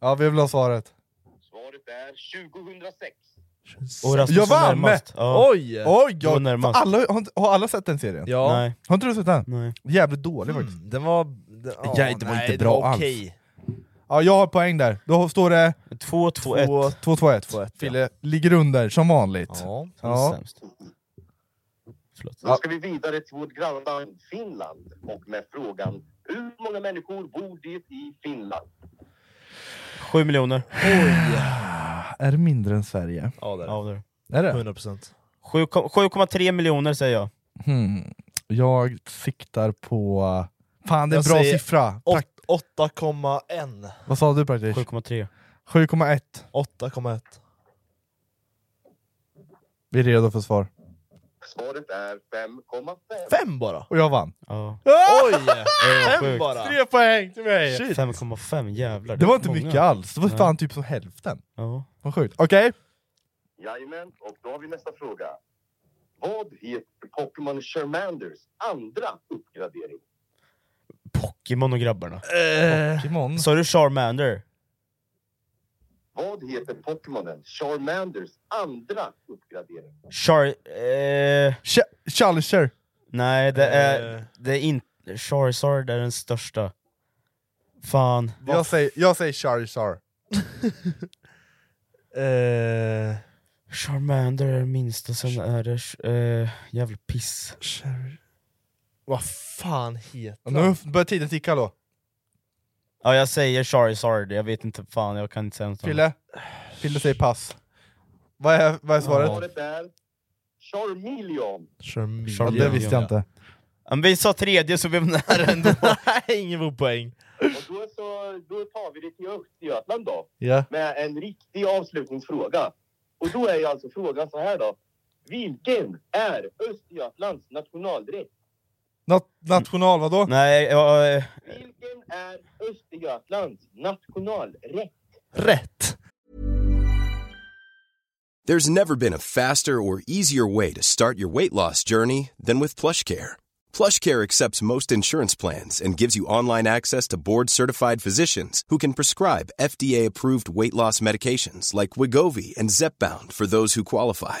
Speaker 4: Ja, vi vill ha svaret.
Speaker 9: Svaret är 2006.
Speaker 3: Och Rasmus
Speaker 4: Jag
Speaker 3: var
Speaker 4: vann!
Speaker 3: närmast. Ja.
Speaker 5: Oj!
Speaker 4: Oj,
Speaker 3: Det var
Speaker 4: jag,
Speaker 3: närmast.
Speaker 4: alla, har, inte- har alla sett den serien?
Speaker 5: Eh, Ja.
Speaker 3: Nej,
Speaker 4: Har inte du sett den?
Speaker 3: nej.
Speaker 4: Jävligt dålig faktiskt.
Speaker 5: Mm, den var... Den, ja,
Speaker 4: Nej, det var
Speaker 5: nej,
Speaker 4: inte
Speaker 5: det
Speaker 4: bra
Speaker 5: var okej.
Speaker 4: Ja, jag har poäng där. Då står det
Speaker 3: 2-2-1.
Speaker 4: 2-2-1.
Speaker 5: 2-1, ja.
Speaker 4: Fille ligger under, som vanligt.
Speaker 5: Ja.
Speaker 4: Ja.
Speaker 3: Sämst. Förlåt.
Speaker 9: Nu ska vi vidare till vårt grannland Finland och med frågan hur många människor bor det i Finland?
Speaker 3: 7 miljoner.
Speaker 4: Ah, Är det mindre än Sverige?
Speaker 5: Ja, där.
Speaker 3: Ja, det är det.
Speaker 4: Är det?
Speaker 5: 100%.
Speaker 3: Sju kom- 7,3 miljoner säger jag.
Speaker 4: Hmm. Jag siktar på... Fan, det är en
Speaker 5: Jag
Speaker 4: bra
Speaker 5: säger
Speaker 4: siffra.
Speaker 5: Åt-
Speaker 4: Prakt-
Speaker 5: 8,1.
Speaker 4: Vad sa du praktiskt?
Speaker 3: 7,3.
Speaker 4: 7,1.
Speaker 5: 8,1.
Speaker 4: Vi är redo för svar.
Speaker 9: Svaret är 5,5.
Speaker 5: Fem bara!
Speaker 4: Och jag vann.
Speaker 3: Ja.
Speaker 5: [laughs] Oj! Fem
Speaker 3: sjukt.
Speaker 5: bara!
Speaker 4: poäng till mig!
Speaker 3: 5,5 jävlar.
Speaker 4: Det var inte
Speaker 3: många.
Speaker 4: mycket alls, det var
Speaker 3: Nej.
Speaker 4: fan typ som hälften.
Speaker 3: Ja.
Speaker 4: Vad sjukt. Okej.
Speaker 9: Jajamän, och då har vi nästa fråga. Vad heter Pokémon Charmanders andra uppgradering?
Speaker 3: Pokémon och grabbarna.
Speaker 4: Simon.
Speaker 3: Sa Mm. du Charmander?
Speaker 9: Vad heter Pokémonen Charmanders andra uppgradering?
Speaker 3: Char... Eh,
Speaker 4: Ch- Challenger.
Speaker 3: nej, det är, det är inte... Charizard är den största. Fan.
Speaker 4: Jag säger, jag säger Charizard.
Speaker 5: Eh,
Speaker 3: Charmander är den minsta, sen är det... Eh, jävla piss.
Speaker 5: Cher- Vad fan heter
Speaker 4: Och Nu börjar tiden ticka då.
Speaker 3: Ja, jag säger Charizard, jag vet inte fan, jag kan inte säga något annat.
Speaker 4: Fille? Fille säger pass. Vad är, vad är svaret?
Speaker 9: Svaret är Charmeleon.
Speaker 5: Charmin.
Speaker 4: Ja, det visste jag inte.
Speaker 3: Men vi sa tredje så vi var nära ändå.
Speaker 5: Nej, ingen får poäng.
Speaker 9: Och då, så, då tar vi det till Östergötland då,
Speaker 5: Ja.
Speaker 9: med en riktig avslutningsfråga. Och då är ju alltså frågan så här då. Vilken är Östergötlands nationaldräkt?
Speaker 4: Nat- national vadå?
Speaker 3: [laughs] Nej, jag... eh,
Speaker 9: Vilken är Östergötlands nationalrätt?
Speaker 5: Rätt!
Speaker 10: There's never been a faster or easier way to start your weight loss journey than with PlushCare. PlushCare accepts most insurance plans and gives you online access to board-certified physicians who can prescribe FDA-approved weight loss medications like Wigovi and Zepbound for those who qualify.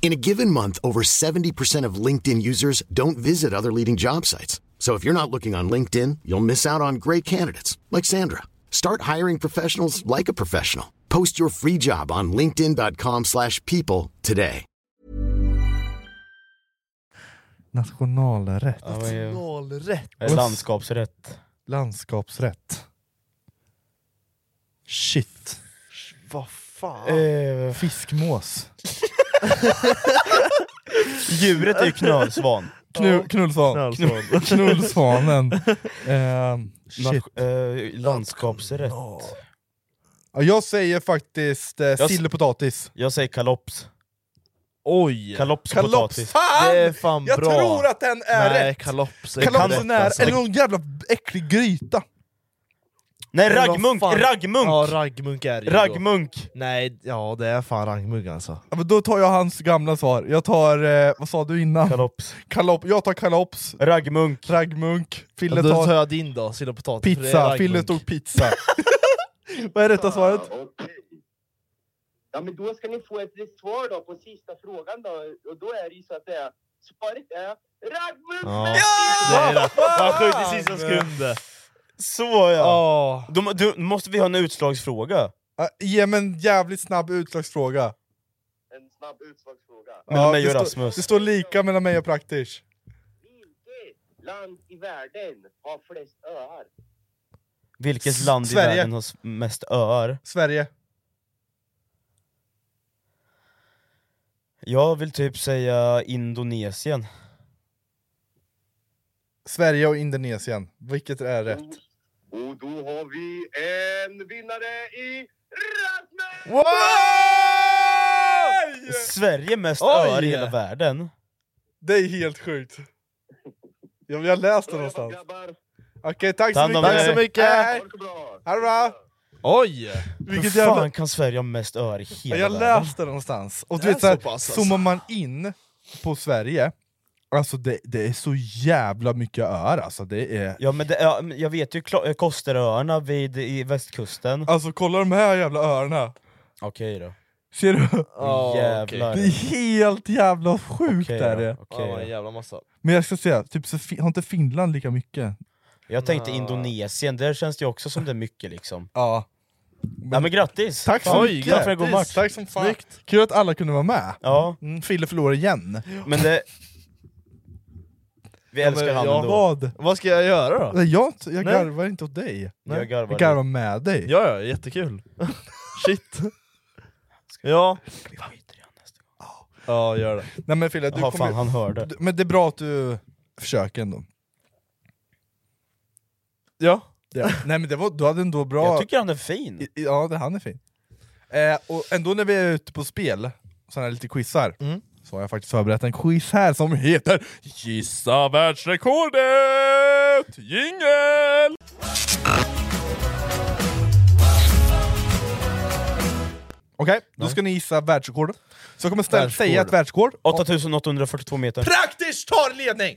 Speaker 11: In a given month, over 70% of LinkedIn users don't visit other leading job sites. So if you're not looking on LinkedIn, you'll miss out on great candidates like Sandra. Start hiring professionals like a professional. Post your free job on linkedin.com/people slash people today.
Speaker 4: Nationalrätt.
Speaker 3: Ja, vad är-
Speaker 5: Nationalrätt.
Speaker 3: är landskapsrätt.
Speaker 4: Landskapsrätt. Shit.
Speaker 5: Vad fan?
Speaker 3: Eh,
Speaker 4: Fiskmås.
Speaker 3: djuret är ju knölsvan.
Speaker 4: Knu, knullsvan.
Speaker 5: Knallsvan. [laughs]
Speaker 4: Knullsvanen. Ehm, shit.
Speaker 3: Nat- eh, landskapsrätt.
Speaker 4: Ja, jag säger faktiskt eh,
Speaker 3: s-
Speaker 4: sillpotatis.
Speaker 3: Jag säger kalops.
Speaker 5: Oj!
Speaker 3: Kalopspotatis.
Speaker 4: Fan!
Speaker 5: Det är fan
Speaker 4: jag
Speaker 5: bra!
Speaker 4: tror att den är
Speaker 5: Nej,
Speaker 4: rätt!
Speaker 5: kalops är
Speaker 4: Kalops
Speaker 5: rätt,
Speaker 4: är nära,
Speaker 5: alltså.
Speaker 4: eller någon jävla äcklig gryta.
Speaker 3: Nej,
Speaker 5: Men vad
Speaker 3: raggmunk!
Speaker 5: fan-
Speaker 3: Raggmunk!
Speaker 5: Ja, raggmunk är det ju då.
Speaker 3: raggmunk!
Speaker 5: Nej, ja det är fan raggmunk alltså.
Speaker 4: Ja, men då tar jag hans gamla svar. Jag tar, eh, vad sa du innan?
Speaker 3: Kalops.
Speaker 4: Kalop. Jag tar kalops,
Speaker 3: Raggmunk.
Speaker 4: raggmunk, Fille
Speaker 5: Men då tar
Speaker 4: tar
Speaker 5: jag din då, sill och potatis. för det är
Speaker 4: pizza,
Speaker 5: raggmunk.
Speaker 4: Fille tog
Speaker 3: [laughs]
Speaker 4: pizza. Vad är rätta svaret?
Speaker 9: Ja, okej. Ja, men då ska ni få ett svar då på sista frågan då. Och då är det ju så att det är, svaret är
Speaker 5: Ja!
Speaker 9: Raggmunk!
Speaker 5: ja! Det är det. Man skjuter i sista sekunden.
Speaker 3: Så ja.
Speaker 4: Ja.
Speaker 3: Då, du, måste vi ha en utslagsfråga?
Speaker 4: Ah, Ge mig en jävligt snabb utslagsfråga.
Speaker 9: En snabb utslagsfråga.
Speaker 3: Mellan
Speaker 4: Ja,
Speaker 3: mig
Speaker 4: det
Speaker 3: och
Speaker 4: står-
Speaker 3: Rasmus.
Speaker 4: Det står lika mellan mig och Praktish.
Speaker 9: Vilket land i världen har flest öar?
Speaker 3: Vilket
Speaker 4: S-
Speaker 3: land
Speaker 4: Sverige.
Speaker 3: i världen har s- mest öar?
Speaker 4: Sverige.
Speaker 3: Jag vill typ säga Indonesien.
Speaker 4: Sverige och Indonesien. Vilket är rätt?
Speaker 9: Och, och då har vi en vinnare i Rasmus!
Speaker 3: Sverige mest
Speaker 4: Oj!
Speaker 3: öar i hela världen?
Speaker 4: Det är helt sjukt. Jag, jag läste det
Speaker 9: Så är det bara,
Speaker 4: någonstans.
Speaker 9: grabbar.
Speaker 4: Okej, tack
Speaker 3: Ta
Speaker 4: så
Speaker 3: hand
Speaker 4: mycket!
Speaker 3: om er. Tack så
Speaker 4: mycket!
Speaker 9: Ha det så bra!
Speaker 4: Ha det bra!
Speaker 5: Oj!
Speaker 4: Vilket
Speaker 3: Hur fan
Speaker 4: jävla...
Speaker 3: kan Sverige ha mest öar i hela
Speaker 4: Jag
Speaker 3: världen?
Speaker 4: läste det någonstans. Och du
Speaker 5: Det är
Speaker 4: vet, så här,
Speaker 5: så pass, alltså.
Speaker 4: zoomar man in på Sverige, alltså det, det är så jävla mycket öar alltså. Det är...
Speaker 3: Ja, men det, ja, men jag vet ju Kla- eh, Kosteröarna vid, i västkusten.
Speaker 4: Alltså kolla de här jävla öarna!
Speaker 3: Okej då.
Speaker 4: Ser du?
Speaker 5: Ja, okej.
Speaker 3: Jävlar.
Speaker 4: Det är helt jävla sjukt
Speaker 3: Okej
Speaker 4: är
Speaker 3: då,
Speaker 4: det!
Speaker 5: Ja, det var
Speaker 3: okej
Speaker 5: en
Speaker 3: då.
Speaker 5: jävla massa.
Speaker 4: Men jag ska säga, typ, så fi- har inte Finland lika mycket?
Speaker 3: Jag tänkte
Speaker 5: Nå.
Speaker 3: Indonesien, där känns det ju också som det är mycket liksom.
Speaker 4: Ja.
Speaker 3: Ja men grattis!
Speaker 4: Tack så
Speaker 3: Fan,
Speaker 4: mycket!
Speaker 3: glad för en god match.
Speaker 4: Tack som fan! Kul att alla kunde vara med!
Speaker 3: Ja,
Speaker 4: Mm, Fille förlorar igen.
Speaker 3: men det... Vi älskar
Speaker 5: men
Speaker 3: han
Speaker 5: jag-
Speaker 3: ändå.
Speaker 4: Vad?
Speaker 5: Vad ska jag göra då?
Speaker 4: Nej, Jag, jag
Speaker 5: Nej.
Speaker 4: garvar inte åt dig.
Speaker 3: Jag
Speaker 4: Jag
Speaker 3: garvar.
Speaker 5: [laughs]
Speaker 4: garvar med dig.
Speaker 5: Ja, ja, jättekul. Shit.
Speaker 3: Ja.
Speaker 4: Ja, gör det. Nej men Fille, du
Speaker 3: Jaha,
Speaker 4: kommer-
Speaker 3: fan, han hörde.
Speaker 4: Du- Men det är bra att du försöker ändå. Ja. Nej men det var, du hade ändå bra...
Speaker 3: Jag tycker han är fin.
Speaker 4: I- Ja, det, han är fin. Eh, och ändå när vi är ute på spel, sådana här lite quizar,
Speaker 3: Mm.
Speaker 4: så har jag faktiskt förberett en quiz här som heter Gissa världsrekordet! Jingel! Okej, då ska ni gissa världsrekord. Så jag kommer ställa, säga ett världsrekord.
Speaker 3: 8842 meter.
Speaker 4: Praktiskt tar ledning!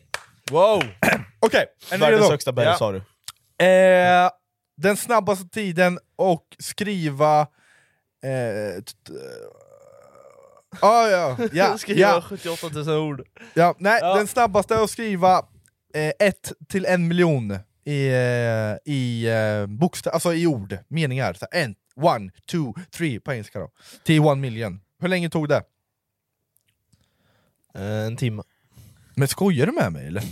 Speaker 4: Wow! [clears throat] Okej, är ni
Speaker 3: Världens
Speaker 4: redo?
Speaker 3: högsta berg sa du.
Speaker 4: Eh, den snabbaste tiden och skriva... Eh, t- t- ah, ja,
Speaker 3: [laughs]
Speaker 4: ja,
Speaker 5: Skriva
Speaker 4: ja,
Speaker 5: 78 000 ord.
Speaker 4: ja. Nej, den snabbaste är att skriva 1 till 1 miljon i, eh, i eh, bokstäver, alltså i ord, meningar. Så en, one, two, three på engelska då. Till one million. Hur länge tog det?
Speaker 5: En timme.
Speaker 4: Men skojar du med mig eller?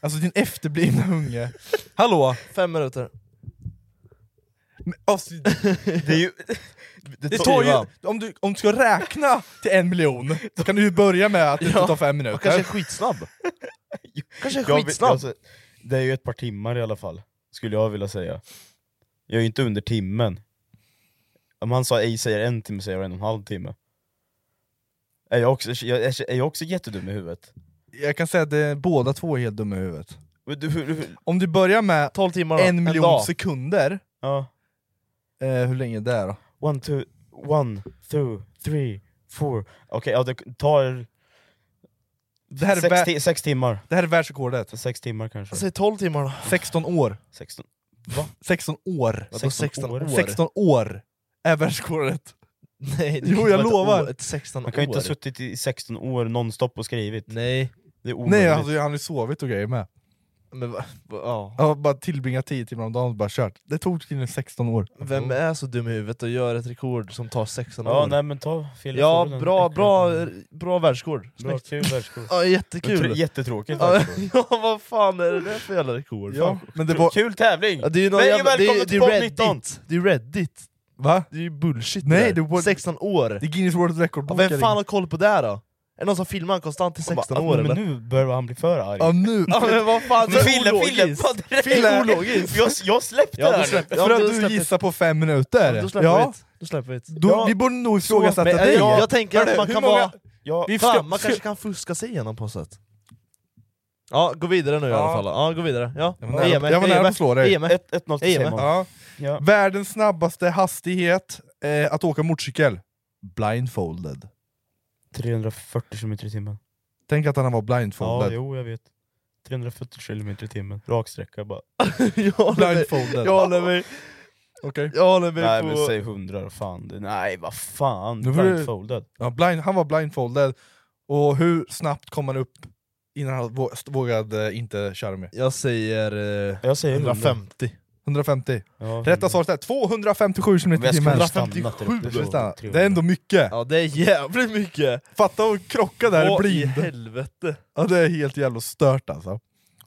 Speaker 4: Alltså din efterblivna unge. Hallå?
Speaker 5: Fem minuter.
Speaker 4: Alltså,
Speaker 3: Det, är ju,
Speaker 4: Det tar ju, om, du, om du ska räkna till en miljon, då kan du ju börja med att det
Speaker 5: Ja,
Speaker 4: tar fem
Speaker 5: Jag
Speaker 4: minuter.
Speaker 5: kanske är [laughs] skitsnabb. kanske är
Speaker 3: Jag vet-
Speaker 5: skitsnabb.
Speaker 3: alltså, det är ju ett par timmar i alla fall, skulle jag vilja säga. Jag är ju inte under timmen. Om han sa ej säger en timme, säger jag en och en halv timme. Är jag också, jag- är jag också jättedum i huvudet?
Speaker 4: Jag kan säga att det, båda två är helt dumma i huvudet.
Speaker 3: Men Du, hur, hur,
Speaker 4: Om du börjar med
Speaker 5: 12 timmar då.
Speaker 4: en miljon
Speaker 5: dag.
Speaker 4: sekunder,
Speaker 3: ja.
Speaker 4: eh, hur länge är det då?
Speaker 3: One, two, one, two, three, four. Okej, ja, det tar
Speaker 4: Det här är, Alltså-
Speaker 3: sex,
Speaker 4: vär,
Speaker 3: ti- sex timmar.
Speaker 4: det här är världsrekordet.
Speaker 3: Sex timmar kanske.
Speaker 5: Säg 12 timmar då.
Speaker 4: 16 år.
Speaker 3: 16. Va?
Speaker 4: 16 år.
Speaker 3: Vadå 16 år?
Speaker 4: 16 år är världsrekordet.
Speaker 5: Nej, det
Speaker 4: Jo,
Speaker 5: kan
Speaker 4: jag
Speaker 5: vara ett
Speaker 4: lovar.
Speaker 5: år, Ett 16
Speaker 3: Man kan ju inte
Speaker 5: år.
Speaker 3: ha suttit i 16 år nonstop och skrivit.
Speaker 5: Nej.
Speaker 3: Det är omöjligt.
Speaker 4: Nej, alltså, han har ju sovit och grejer med.
Speaker 5: Men va? va- Ja.
Speaker 4: Jag har bara tillbringat 10 timmar om dagen och bara kört. Det tog tydligen 16 år.
Speaker 5: Vem är så dum i huvudet och gör ett rekord som tar 16
Speaker 3: Ja,
Speaker 5: år?
Speaker 3: nej men ta fel.
Speaker 5: Mm. ja,
Speaker 3: [laughs]
Speaker 5: bra, bra, bra världsrekord.
Speaker 3: Bra,
Speaker 5: Snyggt.
Speaker 3: kul världsrekord.
Speaker 5: [laughs] Ja, jättekul.
Speaker 3: Tr- Jättetråkigt
Speaker 5: Ja,
Speaker 3: världsrekord.
Speaker 5: ja, vad fan är det där för jävla rekord?
Speaker 4: Ja,
Speaker 5: Fan.
Speaker 4: men det var...
Speaker 3: Kul tävling!
Speaker 5: Ja, det är ju någon
Speaker 3: Hej och
Speaker 5: jävla, det,
Speaker 3: välkomna
Speaker 5: är- det
Speaker 3: till
Speaker 5: är
Speaker 3: podd
Speaker 5: Reddit.
Speaker 3: 19.
Speaker 5: Det är Reddit.
Speaker 4: Va?
Speaker 5: Det är ju bullshit
Speaker 4: Nej,
Speaker 5: där.
Speaker 4: det var-
Speaker 5: 16 år.
Speaker 4: Det är Guinness World
Speaker 5: Ja,
Speaker 4: Record-boken.
Speaker 5: vem fan har koll på det här då? Är det någon som filmar han konstant i 16 år
Speaker 3: "Alltså, men
Speaker 5: eller?
Speaker 3: nu börjar han bli för arg.
Speaker 4: Ja, nu.
Speaker 5: Ja, [laughs] men vad fan, det
Speaker 3: Men
Speaker 5: är
Speaker 3: Fille, Fille!
Speaker 5: ologiskt!
Speaker 3: vad är det?
Speaker 5: Fille, är ologiskt!
Speaker 3: Jag, jag släppte
Speaker 5: Ja,
Speaker 3: det
Speaker 5: du
Speaker 3: här.
Speaker 5: släppte
Speaker 4: För
Speaker 5: ja,
Speaker 4: att
Speaker 5: du
Speaker 4: du
Speaker 5: släppte-
Speaker 4: gissar på fem minuter?
Speaker 5: Ja, då släpper vi det. Då släpper vi det.
Speaker 4: Då,
Speaker 3: Ja.
Speaker 4: Vi borde nog
Speaker 5: Men,
Speaker 4: ifrågasätta
Speaker 5: äh,
Speaker 4: dig.
Speaker 5: jag, jag tänker
Speaker 4: Hörru,
Speaker 5: att man
Speaker 4: hur
Speaker 5: kan
Speaker 4: många-
Speaker 5: vara...
Speaker 3: Ja,
Speaker 4: Vi
Speaker 5: Fan,
Speaker 4: ska-
Speaker 5: man [laughs]
Speaker 4: ska-
Speaker 5: kanske kan fuska sig igenom på något sätt. Ja, gå vidare nu i alla
Speaker 4: Ja.
Speaker 5: fall. Ja, gå vidare. Ja. E
Speaker 4: Jag var nära- jag var nära på att slå dig.
Speaker 5: EMF.
Speaker 3: ett, ett, noll till
Speaker 5: Hej,
Speaker 3: Simon.
Speaker 4: Ja.
Speaker 3: Ja.
Speaker 4: Världens snabbaste hastighet eh, att åka motorcykel? Blindfolded.
Speaker 3: 340 km i timmen.
Speaker 4: Tänk att han var
Speaker 3: Ja,
Speaker 4: blindfolded.
Speaker 3: jo jag vet. 340 km i timmen, raksträcka bara.
Speaker 5: [laughs] Jag håller
Speaker 3: [laughs]
Speaker 5: med.
Speaker 4: blindfolded.
Speaker 5: Jag håller [laughs] med.
Speaker 4: Okej.
Speaker 5: Jag håller med
Speaker 3: Nej
Speaker 5: på...
Speaker 3: men säg 100 då, fan. Det- Nej vad fan,
Speaker 4: Nu får du-
Speaker 3: blindfolded.
Speaker 4: Ja, blind, han var blindfolded, och hur snabbt kom han upp innan han vå- vågade eh, inte köra mer?
Speaker 5: Jag säger... Eh,
Speaker 3: Jag säger 100.
Speaker 5: 150.
Speaker 4: 150.
Speaker 3: Ja,
Speaker 4: Rätta svaret är 257 km i
Speaker 3: Men jag
Speaker 4: timmen.
Speaker 3: skulle stannat där uppe.
Speaker 4: 157. Stanna. Det är ändå mycket!
Speaker 5: Ja, det är jävligt mycket!
Speaker 4: Fatta att krocka där
Speaker 5: Vad i
Speaker 4: blind.
Speaker 5: helvete!
Speaker 4: Ja, det är helt jävla stört alltså.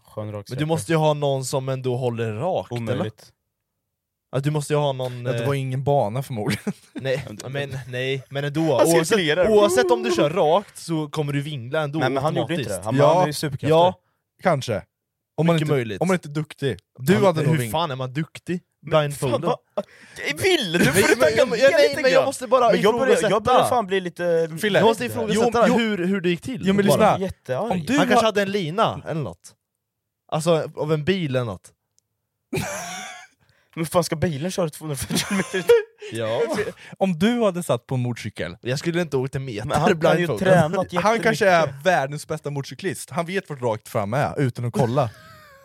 Speaker 3: Skön raksträcka.
Speaker 5: Men du måste ju ha någon som ändå håller rakt, eller?
Speaker 3: Omöjligt.
Speaker 5: Ja, du måste ju ha någon...
Speaker 4: Ja, det
Speaker 5: eh,
Speaker 4: var ingen bana förmodligen. [laughs]
Speaker 5: Nej, men, nej, men ändå.
Speaker 3: Han
Speaker 5: Oavsett,
Speaker 3: cirkulerar.
Speaker 5: oavsett om du kör rakt så kommer du vingla ändå
Speaker 3: Nej men han gjorde
Speaker 5: automatiskt.
Speaker 3: inte det, han,
Speaker 4: Ja,
Speaker 3: han är ju superkraftig.
Speaker 5: Ja,
Speaker 4: Kanske. Om man,
Speaker 5: Mycket
Speaker 4: inte,
Speaker 5: möjligt.
Speaker 4: om man inte är duktig. Du
Speaker 5: han,
Speaker 4: hade nog
Speaker 5: Hur
Speaker 4: vinkt.
Speaker 5: fan är man duktig?
Speaker 3: Men fan,
Speaker 5: Blindfolden.
Speaker 3: vad- Ville, du
Speaker 5: Men-
Speaker 3: får
Speaker 5: men-
Speaker 3: tacka
Speaker 5: men- ja, nej,
Speaker 3: mig
Speaker 5: men jag måste bara
Speaker 3: Men jag börjar, jag börjar
Speaker 5: ifrågasätta.
Speaker 3: fan bli lite...
Speaker 4: Fille,
Speaker 5: Jag måste
Speaker 4: Jo,
Speaker 5: ifrågasätta
Speaker 4: jo.
Speaker 5: hur, hur det gick till.
Speaker 4: Jo, men
Speaker 5: bara.
Speaker 4: lyssna.
Speaker 3: Jättearg.
Speaker 4: Om du
Speaker 5: Han
Speaker 4: har-
Speaker 5: kanske hade en lina eller något. Alltså av en bil eller något.
Speaker 3: Men fan ska bilen köra 240
Speaker 5: [laughs]
Speaker 3: meter?
Speaker 5: Ja.
Speaker 4: Om du hade satt på en motorcykel,
Speaker 5: Jag skulle inte åkt en meter
Speaker 3: Men han kan ju
Speaker 5: blindfolden. [laughs]
Speaker 3: tränat
Speaker 4: han kanske är världens bästa motorcyklist, han vet vart rakt fram är utan att kolla.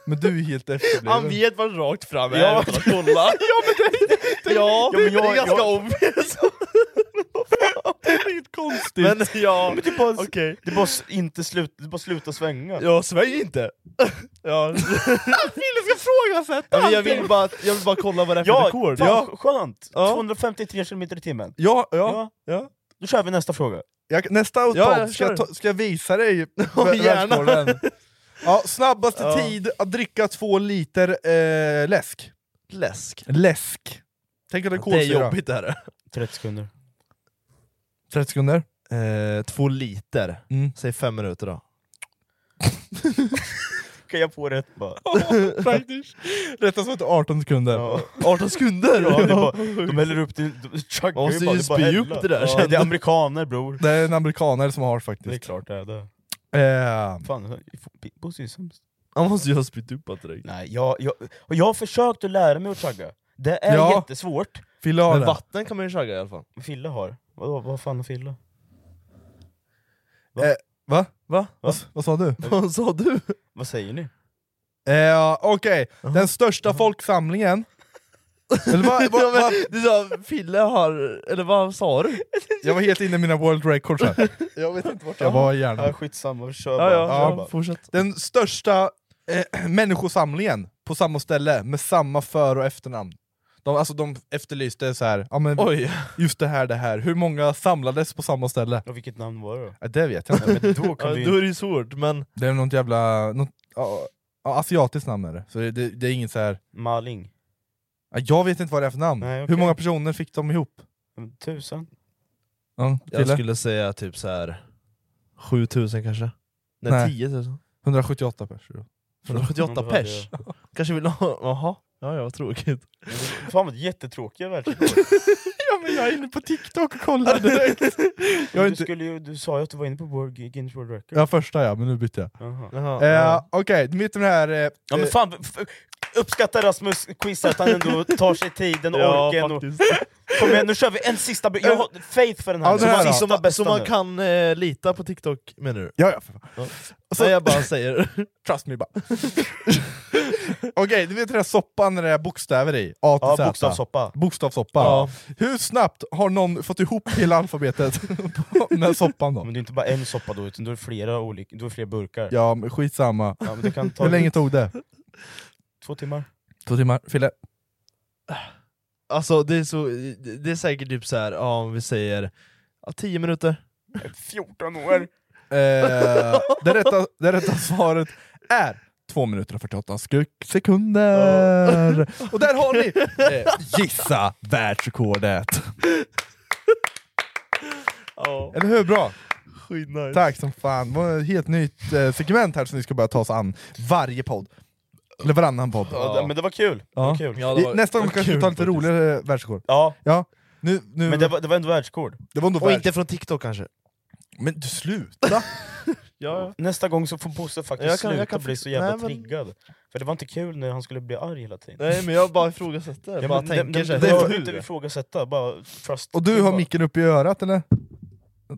Speaker 4: Men du är helt efterbliven.
Speaker 5: Han vet vad rakt fram är
Speaker 3: Ja.
Speaker 5: utan att kolla. [laughs] ja men det, ja,
Speaker 3: men
Speaker 5: det
Speaker 3: jag-
Speaker 5: är ganska
Speaker 3: jag- [laughs]
Speaker 5: obvious.
Speaker 4: Det är helt konstigt.
Speaker 5: [laughs] men ja,
Speaker 3: Men det är bara,
Speaker 5: okej.
Speaker 3: det är bara s- inte slut, det är bara sluta svänga.
Speaker 5: Ja, sväng inte! [laughs]
Speaker 4: [laughs]
Speaker 5: ja.
Speaker 4: jag frågar så här.
Speaker 5: ja, men jag, vill bara, jag vill bara kolla vad det är för
Speaker 3: Ja,
Speaker 5: rekord.
Speaker 3: fan,
Speaker 5: Ja.
Speaker 3: skönt!
Speaker 5: Ja.
Speaker 3: 253 km i timmen.
Speaker 4: Ja, ja.
Speaker 3: Ja. Då kör vi nästa fråga.
Speaker 4: Jag, nästa podd
Speaker 5: jag
Speaker 4: ska, jag
Speaker 5: kör.
Speaker 4: ta, ska jag
Speaker 5: [laughs]
Speaker 4: visa dig vär-
Speaker 5: gärna.
Speaker 4: världsrekorden. Ja, snabbaste
Speaker 5: Ja.
Speaker 4: tid att dricka två liter eh, läsk.
Speaker 5: Läsk.
Speaker 4: Läsk. Tänk att
Speaker 5: Det
Speaker 4: det är
Speaker 5: är
Speaker 4: kolsyra.
Speaker 5: jobbigt det här.
Speaker 3: 30 sekunder.
Speaker 4: 30 sekunder? Mm.
Speaker 5: Eh, två liter. Säg fem minuter då.
Speaker 3: Kan jag få rätt bara?
Speaker 4: [laughs] Praktiskt. Rätta svaret är 18 sekunder.
Speaker 5: 18 sekunder? [laughs]
Speaker 3: Ja, det är bara, de häller upp din... de- Chuck
Speaker 4: Man måste
Speaker 3: Berry bara,
Speaker 4: ju
Speaker 3: det bara
Speaker 4: spy
Speaker 3: hälla.
Speaker 4: upp det där
Speaker 3: Ja,
Speaker 4: sen.
Speaker 3: det är amerikaner bror.
Speaker 4: Det är en amerikanare som har faktiskt.
Speaker 3: Det är klart det är det.
Speaker 4: Eh,
Speaker 3: Fan, Bosse är sämst.
Speaker 5: Han måste ju ha spytt upp allt direkt.
Speaker 3: Nej, jag, jag, och jag har försökt att lära mig att chugga. Det är
Speaker 5: Ja.
Speaker 3: jättesvårt.
Speaker 4: Fille har
Speaker 5: Men
Speaker 4: det.
Speaker 5: vatten kan man ju chugga i alla fall.
Speaker 3: Fille har. Vad, vad fan har Fille?
Speaker 4: Va? Eh, va? va? Vad, s- vad sa du?
Speaker 5: [laughs] vad sa du?
Speaker 3: Vad säger ni?
Speaker 4: Eh, Okej, den största folksamlingen... Eller vad,
Speaker 5: [laughs]
Speaker 4: vad,
Speaker 5: Ja, men
Speaker 4: vad,
Speaker 5: Du sa Fille har... Eller vad sa du?
Speaker 4: jag var helt inne i mina world records
Speaker 5: [laughs]
Speaker 4: här.
Speaker 5: Jag vet inte vart
Speaker 4: Jag var i hjärnan.
Speaker 3: Ja, skitsamma, kör
Speaker 5: Ja,
Speaker 3: bara.
Speaker 5: ja,
Speaker 3: kör
Speaker 5: ja,
Speaker 3: bara.
Speaker 5: fortsätt.
Speaker 4: Den största eh, [clears throat] människosamlingen på samma ställe med samma för och efternamn. De, alltså de efterlyste så här, ja, men
Speaker 5: Oj.
Speaker 4: just det här, det här. Hur många samlades på samma ställe?
Speaker 3: Och vilket namn var
Speaker 5: [laughs]
Speaker 3: det då?
Speaker 4: Ja, det vet jag
Speaker 3: Ja,
Speaker 4: inte.
Speaker 3: men då
Speaker 5: Ja,
Speaker 3: kan
Speaker 5: då
Speaker 3: du
Speaker 5: är det ju svårt, men...
Speaker 4: Det är något jävla... Något, ja, ja, asiatiskt namn är det. Så det, det, det är inget så här.
Speaker 3: Maling.
Speaker 4: ja, Jag vet inte vad det är för namn.
Speaker 3: Nej, okej.
Speaker 4: Hur många personer fick de ihop?
Speaker 3: Tusen.
Speaker 4: Ja,
Speaker 5: Jag
Speaker 4: Tille?
Speaker 5: skulle säga typ så här 7000 kanske? Nej,
Speaker 4: Nej.
Speaker 5: 10 000.
Speaker 4: 178 personer.
Speaker 5: 178
Speaker 3: Ja, det var
Speaker 5: pers? Kanske vill ha... [laughs] Jaha? Ja, ja, vad tråkigt.
Speaker 3: Fan vad jättetråkiga världsrekord.
Speaker 4: Ja men jag är inne på TikTok och kollar direkt. jag är
Speaker 3: Du,
Speaker 4: inte...
Speaker 3: skulle ju, du sa ju att du var inne på World Guinness World Record.
Speaker 4: Ja första ja, men nu bytte jag.
Speaker 3: Jaha.
Speaker 5: Jaha,
Speaker 4: Eh,
Speaker 5: ja.
Speaker 4: Okej, mitt med det här... Eh,
Speaker 3: Ja men
Speaker 4: eh,
Speaker 3: fan, f- uppskattar Rasmus quiz att han ändå tar sig tiden,
Speaker 5: Ja,
Speaker 3: orken och...
Speaker 5: faktiskt. Eh,
Speaker 3: Kom igen, nu kör vi en sista, br- jag har faith för den här.
Speaker 4: Ja,
Speaker 3: nu.
Speaker 4: det här
Speaker 3: Sista
Speaker 4: då.
Speaker 5: Som, man-
Speaker 3: bästa
Speaker 5: som man
Speaker 3: nu.
Speaker 5: kan eh, lita på TikTok menar du?
Speaker 4: ja, ja, för fan.
Speaker 5: Så Nej, jag bara säger...
Speaker 4: Trust
Speaker 3: [laughs]
Speaker 4: me bara. Okej, du vet den där soppan när det är bokstäver i? A till
Speaker 3: Ja,
Speaker 4: Z.
Speaker 3: bokstavssoppa.
Speaker 4: Bokstavssoppa.
Speaker 5: Ja.
Speaker 4: Hur snabbt har någon fått ihop hela alfabetet [laughs] på- med soppan
Speaker 3: Ja,
Speaker 4: då?
Speaker 3: Men det är inte bara en soppa då, utan då är det flera, olika, då är det
Speaker 5: [laughs]
Speaker 3: flera burkar.
Speaker 4: Ja, men skitsamma.
Speaker 3: Ja, men det kan ta
Speaker 4: Hur länge tog det?
Speaker 3: Två timmar.
Speaker 4: Två timmar. Fille?
Speaker 5: Alltså det är, så, det är säkert typ så här, ja, om vi säger ja, 10 minuter.
Speaker 3: 14 år.
Speaker 4: Eh, det, rätta,
Speaker 5: [laughs]
Speaker 4: det rätta svaret är 2 minuter och 48 sek- sekunder! Och där har ni
Speaker 5: [laughs]
Speaker 4: eh, Gissa världsrekordet! Eller hur? Bra!
Speaker 5: Skitnice.
Speaker 4: Tack som fan, det var ett helt nytt eh, segment här som ni ska börja ta oss an varje podd. Eller varannan podd.
Speaker 3: Ja. Men det var kul. Det
Speaker 4: Ja.
Speaker 3: var kul.
Speaker 5: Ja, det var-
Speaker 4: I- Nästa gång
Speaker 5: det var
Speaker 4: kanske vi
Speaker 5: kul
Speaker 4: tar lite
Speaker 5: faktiskt.
Speaker 4: roligare världsrekord.
Speaker 3: Ja,
Speaker 4: Ja, nu, nu,
Speaker 3: men det var, det var ändå världsrekord.
Speaker 4: det var ändå
Speaker 5: Och
Speaker 4: världs-
Speaker 5: inte från TikTok kanske?
Speaker 4: Men du sluta!
Speaker 5: Ja,
Speaker 3: Nästa gång så får Bosse faktiskt
Speaker 5: Jag kan- jag
Speaker 3: sluta
Speaker 5: kan-
Speaker 3: bli så jävla
Speaker 5: Nej, men-
Speaker 3: triggad. För det var inte kul när han skulle bli arg hela tiden.
Speaker 5: [laughs] Nej men jag bara ifrågasätter, jag bara
Speaker 3: men
Speaker 5: tänker
Speaker 3: det,
Speaker 5: så
Speaker 3: det,
Speaker 5: här,
Speaker 3: det
Speaker 5: hör
Speaker 3: behöver
Speaker 5: du
Speaker 3: inte vi
Speaker 5: det?
Speaker 3: ifrågasätta, bara trust
Speaker 5: [laughs]
Speaker 4: Och du
Speaker 3: me
Speaker 4: har
Speaker 3: bara.
Speaker 4: micken uppe i örat eller?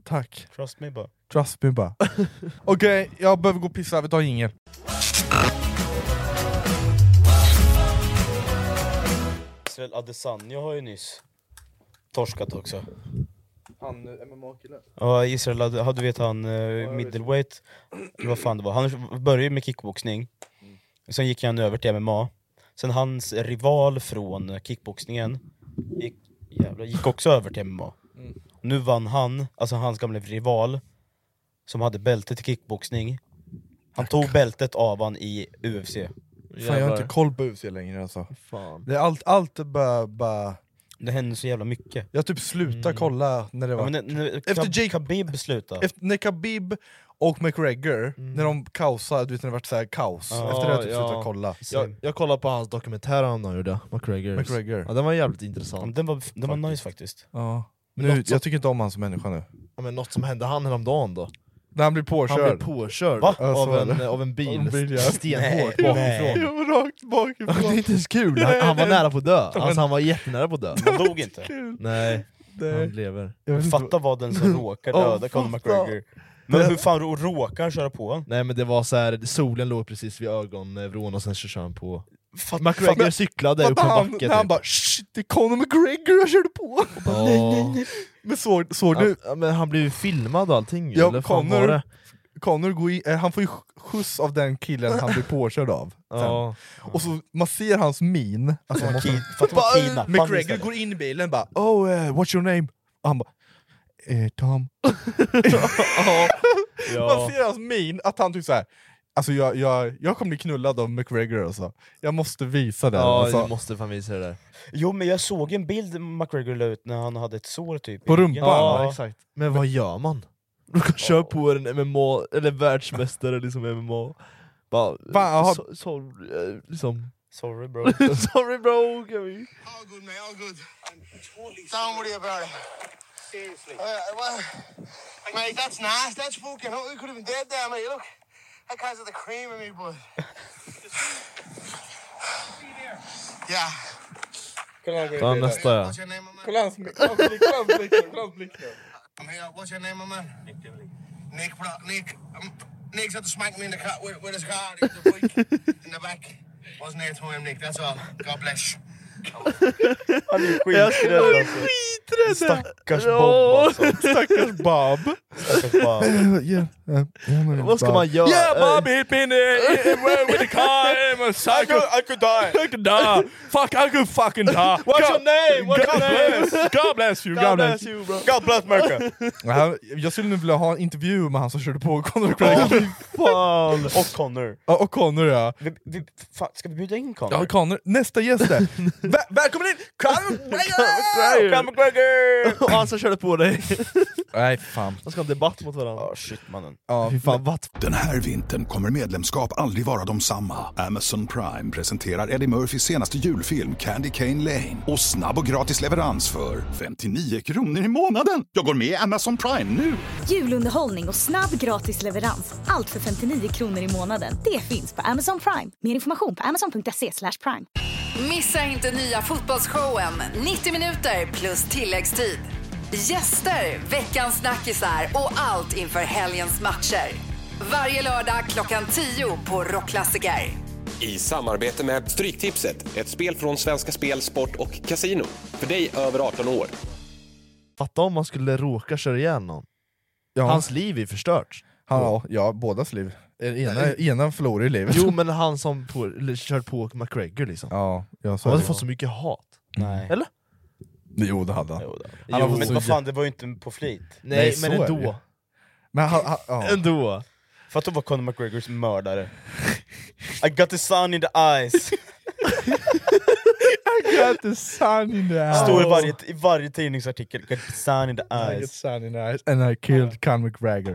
Speaker 4: Tack.
Speaker 3: Trust me bara.
Speaker 4: Trust
Speaker 5: [laughs]
Speaker 4: me bara. Okej, jag behöver gå och pissa, vi tar jingel.
Speaker 3: Israel Adesanya har ju nyss torskat också.
Speaker 4: Han
Speaker 3: eh,
Speaker 4: MMA-killen?
Speaker 3: Ja, Israel Ade- ja, du vet han eh, middleweight, eller vad fan det var. Han började ju med kickboxning, sen gick han över till MMA. Sen hans rival från kickboxningen gick, jävlar, gick också över till MMA. Nu vann han, alltså hans gamla rival, som hade bältet i kickboxning. Han tog bältet av han i UFC.
Speaker 4: Fan, jag har
Speaker 5: Jävlar.
Speaker 4: inte koll på UFC längre alltså.
Speaker 5: Fan.
Speaker 4: Det är allt, allt är bara, bara...
Speaker 3: Det hände så jävla mycket.
Speaker 4: Jag typ slutar
Speaker 5: Mm.
Speaker 4: kolla när det var...
Speaker 3: Ja, men nu, nu,
Speaker 4: Efter
Speaker 3: Kab-
Speaker 4: Jake-
Speaker 3: Khabib slutade.
Speaker 4: Efter, när Khabib och McGregor, när de kaosade, du vet när det vart så här kaos,
Speaker 5: Mm. Ja,
Speaker 4: efter det har jag typ
Speaker 5: ja.
Speaker 4: slutat kolla.
Speaker 5: Jag, jag kollade på hans dokumentär han gjorde, McGregors.
Speaker 4: McGregor.
Speaker 5: Ja, den var jävligt
Speaker 3: Ja, men
Speaker 5: intressant.
Speaker 3: den var, den var nice faktiskt.
Speaker 4: Ja.
Speaker 5: Något
Speaker 4: Nu,
Speaker 5: som-
Speaker 4: jag tycker inte om han som människa nu.
Speaker 5: Ja, men något som hände han häromdagen då.
Speaker 4: När han blir
Speaker 5: Han
Speaker 4: påkörd.
Speaker 5: blev påkörd
Speaker 4: Va? Ja, så
Speaker 5: av,
Speaker 4: var
Speaker 5: en,
Speaker 4: det.
Speaker 5: av en bil,
Speaker 4: Av en bil, ja.
Speaker 5: stenhårt
Speaker 3: Nej,
Speaker 5: bakifrån.
Speaker 4: Jo, rakt
Speaker 5: [laughs] Det
Speaker 4: bakifrån.
Speaker 5: är inte ens kul, han, han var nära på att dö. Alltså, han var jättenära på att dö.
Speaker 3: Han dog inte.
Speaker 5: Nej, han
Speaker 4: Det-
Speaker 5: lever.
Speaker 4: jag vet inte vad-
Speaker 3: Fatta vad den som råkar
Speaker 4: [laughs] Ja,
Speaker 3: döda Conor
Speaker 4: fatta.
Speaker 3: McGregor. Men hur fan rå- råkar han köra på honom?
Speaker 5: Nej men det var så här, solen låg precis vid ögonvrån och sen så körde han på...
Speaker 3: Fatta-
Speaker 5: McGregor cyklade upp
Speaker 4: Fatta
Speaker 5: på
Speaker 4: han,
Speaker 5: backen.
Speaker 4: när han
Speaker 5: typ.
Speaker 4: bara "Shh, det är Conor McGregor jag körde på! [laughs]
Speaker 5: Ja.
Speaker 4: Men såg, såg du?
Speaker 5: Han, ja, men han blev ju filmad och allting ju,
Speaker 4: Ja,
Speaker 5: eller fan
Speaker 4: Connor-
Speaker 5: var det?
Speaker 4: Connor går i, eh, han får ju sk- skjuts av den killen han blir påkörd av.
Speaker 5: [laughs]
Speaker 4: sen.
Speaker 5: Ja.
Speaker 4: Och så man ser hans min, alltså man måste...
Speaker 3: Ki- fatta vad kidnappad
Speaker 4: McGregor
Speaker 3: istället.
Speaker 4: går in i bilen och bara oh, eh, what's your name? Och han bara eh, Tom. [laughs]
Speaker 5: ja.
Speaker 4: Man ser hans min, att han typ såhär Alltså jag, jag, jag kommer bli knullad av McGregor alltså. Jag måste visa det.
Speaker 5: Ja,
Speaker 4: alltså.
Speaker 5: du måste fan visa det där.
Speaker 3: Jo men jag såg en bild McGregor la ut när han hade ett sår typ.
Speaker 4: På rumpan?
Speaker 5: Ja, exakt. Men vad gör man? Du kan köra på en MMA, eller världsmästare liksom MMA. Bara,
Speaker 4: Fan, jag har-
Speaker 5: so, sorry, eh, liksom.
Speaker 3: Sorry bro.
Speaker 5: [laughs] sorry bro, kan vi?
Speaker 12: All good, man. All good. I'm totally. Don't worry about it. Seriously. well, mate, that's nice. That's fucking. You could have been dead there, mate. Look, that guy's got the cream in me, bud. yeah.
Speaker 5: Ta nästa ja.
Speaker 12: Kolla hans blick, kolla hans blick, kolla hans blick. I'm here. uh, What's your name, my man? Nick Dimley. Nick, bro, Nick. Um, Nick's had to smack me in the car with, with his car, the bike [laughs] in the back. Wasn't there to him, Nick. That's all. God bless.
Speaker 3: Han är
Speaker 12: Jag
Speaker 4: [laughs]
Speaker 3: skiträdd
Speaker 12: skulle-
Speaker 3: alltså.
Speaker 5: Skiträdd!
Speaker 3: Stackars
Speaker 5: Ja.
Speaker 3: Bob alltså.
Speaker 4: Stackars Bob.
Speaker 3: Stackars
Speaker 4: [laughs]
Speaker 3: Bob.
Speaker 4: yeah, yeah, yeah,
Speaker 5: Vad ska man göra?
Speaker 4: Yeah, Bob
Speaker 5: Eh,
Speaker 4: hit me in the, in, with the car. I'm a psycho. I could,
Speaker 3: I could die.
Speaker 4: I could die. Fuck, I could fucking die.
Speaker 5: What's your name? What's
Speaker 4: God,
Speaker 5: your name?
Speaker 4: bless. God bless you. God, bless you.
Speaker 5: bro.
Speaker 3: God bless America.
Speaker 4: Jag, jag skulle nu vilja ha en intervju med han som körde på Conor McGregor.
Speaker 5: Fan.
Speaker 3: Och Connor.
Speaker 4: Ja, och Conor ja.
Speaker 3: Vi, vi, fan, ska vi bjuda in
Speaker 4: Ja,
Speaker 3: Connor?
Speaker 4: Conor. Nästa gäst är... Vä välkommen in!
Speaker 3: [laughs]
Speaker 4: Conor McGregor!
Speaker 3: Conor [laughs] McGregor!
Speaker 5: Och han som körde på dig.
Speaker 4: Nej, fan.
Speaker 5: De ska ha en debatt mot varandra.
Speaker 3: Ja, shit mannen.
Speaker 4: Ja,
Speaker 5: Fy fan, vad
Speaker 1: Den här vintern kommer medlemskap aldrig vara de samma. Amazon Prime presenterar Eddie Murphys senaste julfilm Candy Cane Lane. Och snabb och gratis leverans för 59 kronor i månaden. Jag går med i Amazon Prime nu!
Speaker 2: Julunderhållning och snabb gratis leverans. Allt för 59 kronor i månaden. Det finns på Amazon Prime. Mer information på amazon.se slash prime.
Speaker 8: Missa inte nya fotbollsshowen 90 minuter plus tilläggstid. Gäster, veckans snackisar och allt inför helgens matcher. Varje lördag klockan 10 på Rockklassiker.
Speaker 13: I samarbete med Stryktipset, ett spel från Svenska Spel, Sport och Casino. För dig över 18 år.
Speaker 5: Fatta om man skulle råka köra ihjäl någon.
Speaker 4: Ja.
Speaker 5: Hans liv är förstört.
Speaker 4: Han, ja, ja, bådas liv. Ena, ena förlorar ju livet.
Speaker 5: Jo men han som på, eller kört på McGregor liksom.
Speaker 4: Ja, jag
Speaker 5: Han
Speaker 4: sa
Speaker 5: hade
Speaker 4: det.
Speaker 5: fått så mycket hat.
Speaker 3: Nej.
Speaker 5: Eller?
Speaker 4: Jo, det hade han.
Speaker 5: Han har fått
Speaker 3: men
Speaker 5: så
Speaker 3: vad fan, det var ju inte på flit.
Speaker 5: Nej,
Speaker 4: Nej,
Speaker 5: men
Speaker 4: så är det ju.
Speaker 5: ändå.
Speaker 4: Men han, han, ja.
Speaker 5: Ändå.
Speaker 3: För att då var Conor
Speaker 4: [laughs]
Speaker 3: McGregors mördare. I got the sun in the eyes.
Speaker 4: got the sun in the eyes.
Speaker 3: Står i varje, i varje tidningsartikel. Got the sun in the
Speaker 4: I got
Speaker 3: eyes.
Speaker 4: sun in the eyes. And I killed Conor McGregor.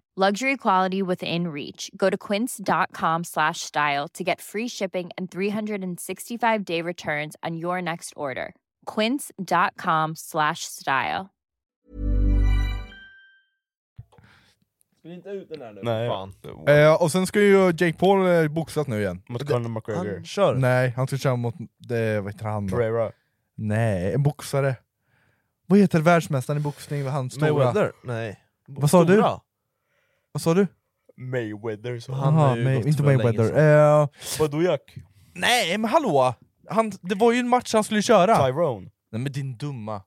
Speaker 14: Luxury quality within reach. Go to quince.com slash style to get free shipping and 365 day returns on your next order. Quince.com slash style.
Speaker 3: Nej.
Speaker 5: Fan.
Speaker 4: Eh, och sen ska ju Jake Paul eh, boxas nu igen.
Speaker 3: Mot Conor McGregor.
Speaker 5: Han kör.
Speaker 4: Nej, han ska köra mot, det, vad heter han då?
Speaker 3: Pereira.
Speaker 4: Nej, en boxare. Vad heter världsmästaren i boxning? Han stora?
Speaker 5: Mayweather? Nej.
Speaker 4: Vad sa du?
Speaker 5: Stora?
Speaker 4: Vad sa du?
Speaker 3: Mayweather. Så
Speaker 5: Han har ju
Speaker 4: May-
Speaker 5: gått
Speaker 4: inte
Speaker 5: för länge
Speaker 4: Mayweather. Eh,
Speaker 3: Vadå Jack?
Speaker 4: nej men hallå! Han, det var ju en match han skulle köra!
Speaker 3: Tyrone.
Speaker 4: Nej men din dumma.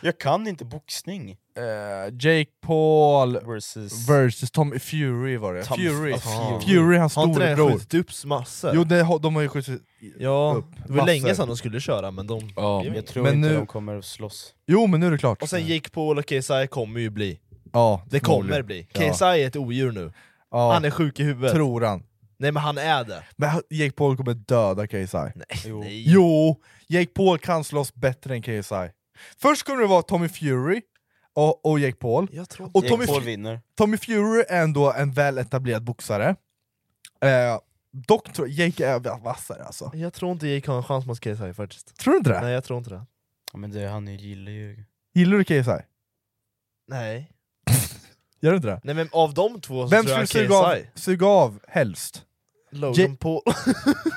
Speaker 3: jag kan inte boxning.
Speaker 4: Eh, Jake Paul
Speaker 3: versus,
Speaker 4: Tommy Fury var det.
Speaker 3: Tom-
Speaker 4: Fury,
Speaker 3: Ah,
Speaker 4: Fury.
Speaker 3: Fury.
Speaker 4: hans
Speaker 5: Har inte den
Speaker 4: storebror.
Speaker 5: skjutit upp massor?
Speaker 4: Jo, det, har- de har ju skjutit
Speaker 5: Ja,
Speaker 4: upp
Speaker 5: det var länge
Speaker 4: massor.
Speaker 5: sedan de skulle köra men de...
Speaker 4: Ja.
Speaker 5: blev
Speaker 4: Jag
Speaker 5: inte.
Speaker 4: tror Men inte nu- de
Speaker 3: kommer att slåss.
Speaker 4: Jo, men nu är det klart.
Speaker 5: Och sen Jake Paul och KSI kommer ju bli.
Speaker 4: ja,
Speaker 5: Det kommer
Speaker 4: förmodligen.
Speaker 5: bli.
Speaker 4: Ja.
Speaker 5: KSI är ett odjur nu.
Speaker 4: Ja.
Speaker 5: Han är sjuk i huvudet.
Speaker 4: Tror han.
Speaker 5: Nej men han är det.
Speaker 4: Men han- Jake Paul kommer döda KSI.
Speaker 5: Jo. Nej.
Speaker 4: Jo, Jake Paul kan slåss bättre än KSI. Först kommer det vara Tommy Fury och, och Jake Paul. och
Speaker 3: Jake
Speaker 4: Tommy,
Speaker 3: Paul
Speaker 4: Fu-
Speaker 3: vinner.
Speaker 4: Tommy Fury är ändå en väl etablerad boxare. Eh, dock tror jag Jake är vassare alltså.
Speaker 5: Jag tror inte Jake har en chans mot KSI faktiskt.
Speaker 4: Tror du inte det?
Speaker 5: Nej jag tror inte det.
Speaker 3: Ja, men det, han gillar ju...
Speaker 4: Gillar du KSI?
Speaker 5: Nej.
Speaker 4: Gör du inte det?
Speaker 5: Nej men av de två så
Speaker 4: Vem
Speaker 5: tror
Speaker 4: skulle
Speaker 5: jag
Speaker 4: suga av,
Speaker 5: KSI.
Speaker 4: suga av helst?
Speaker 5: Logan
Speaker 4: Ja-
Speaker 5: Paul.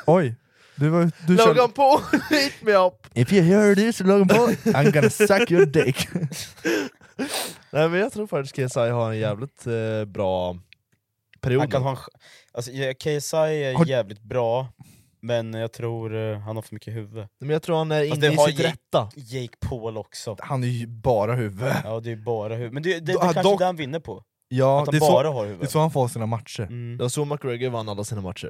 Speaker 4: Oj, du var du körde-
Speaker 5: Logan Paul, hit me up!
Speaker 4: If you hear this Logan Paul, I'm gonna suck your dick.
Speaker 5: Nej men jag tror faktiskt KSI har en jävligt eh, bra period
Speaker 3: Han kan
Speaker 5: nu.
Speaker 3: ha en, ch- alltså, ja, KSI är
Speaker 5: Har-
Speaker 3: jävligt bra, men jag tror eh, han har för mycket huvud.
Speaker 5: Men jag tror han är
Speaker 3: Fast
Speaker 5: inne
Speaker 3: det
Speaker 5: i
Speaker 3: har
Speaker 5: sitt
Speaker 3: Jake-
Speaker 5: rätta.
Speaker 3: Jake Paul också.
Speaker 4: [laughs] Han är ju bara huvud.
Speaker 3: Ja, det är bara huvud. Men det, det, det
Speaker 4: Då-
Speaker 3: kanske
Speaker 4: dock-
Speaker 3: det han vinner på.
Speaker 4: Ja,
Speaker 3: att han
Speaker 4: det, är
Speaker 3: bara
Speaker 4: så,
Speaker 3: har
Speaker 4: det är
Speaker 3: huvud.
Speaker 4: så han får sina matcher. [laughs]
Speaker 3: Mm.
Speaker 5: Det var så McGregor vann alla sina matcher.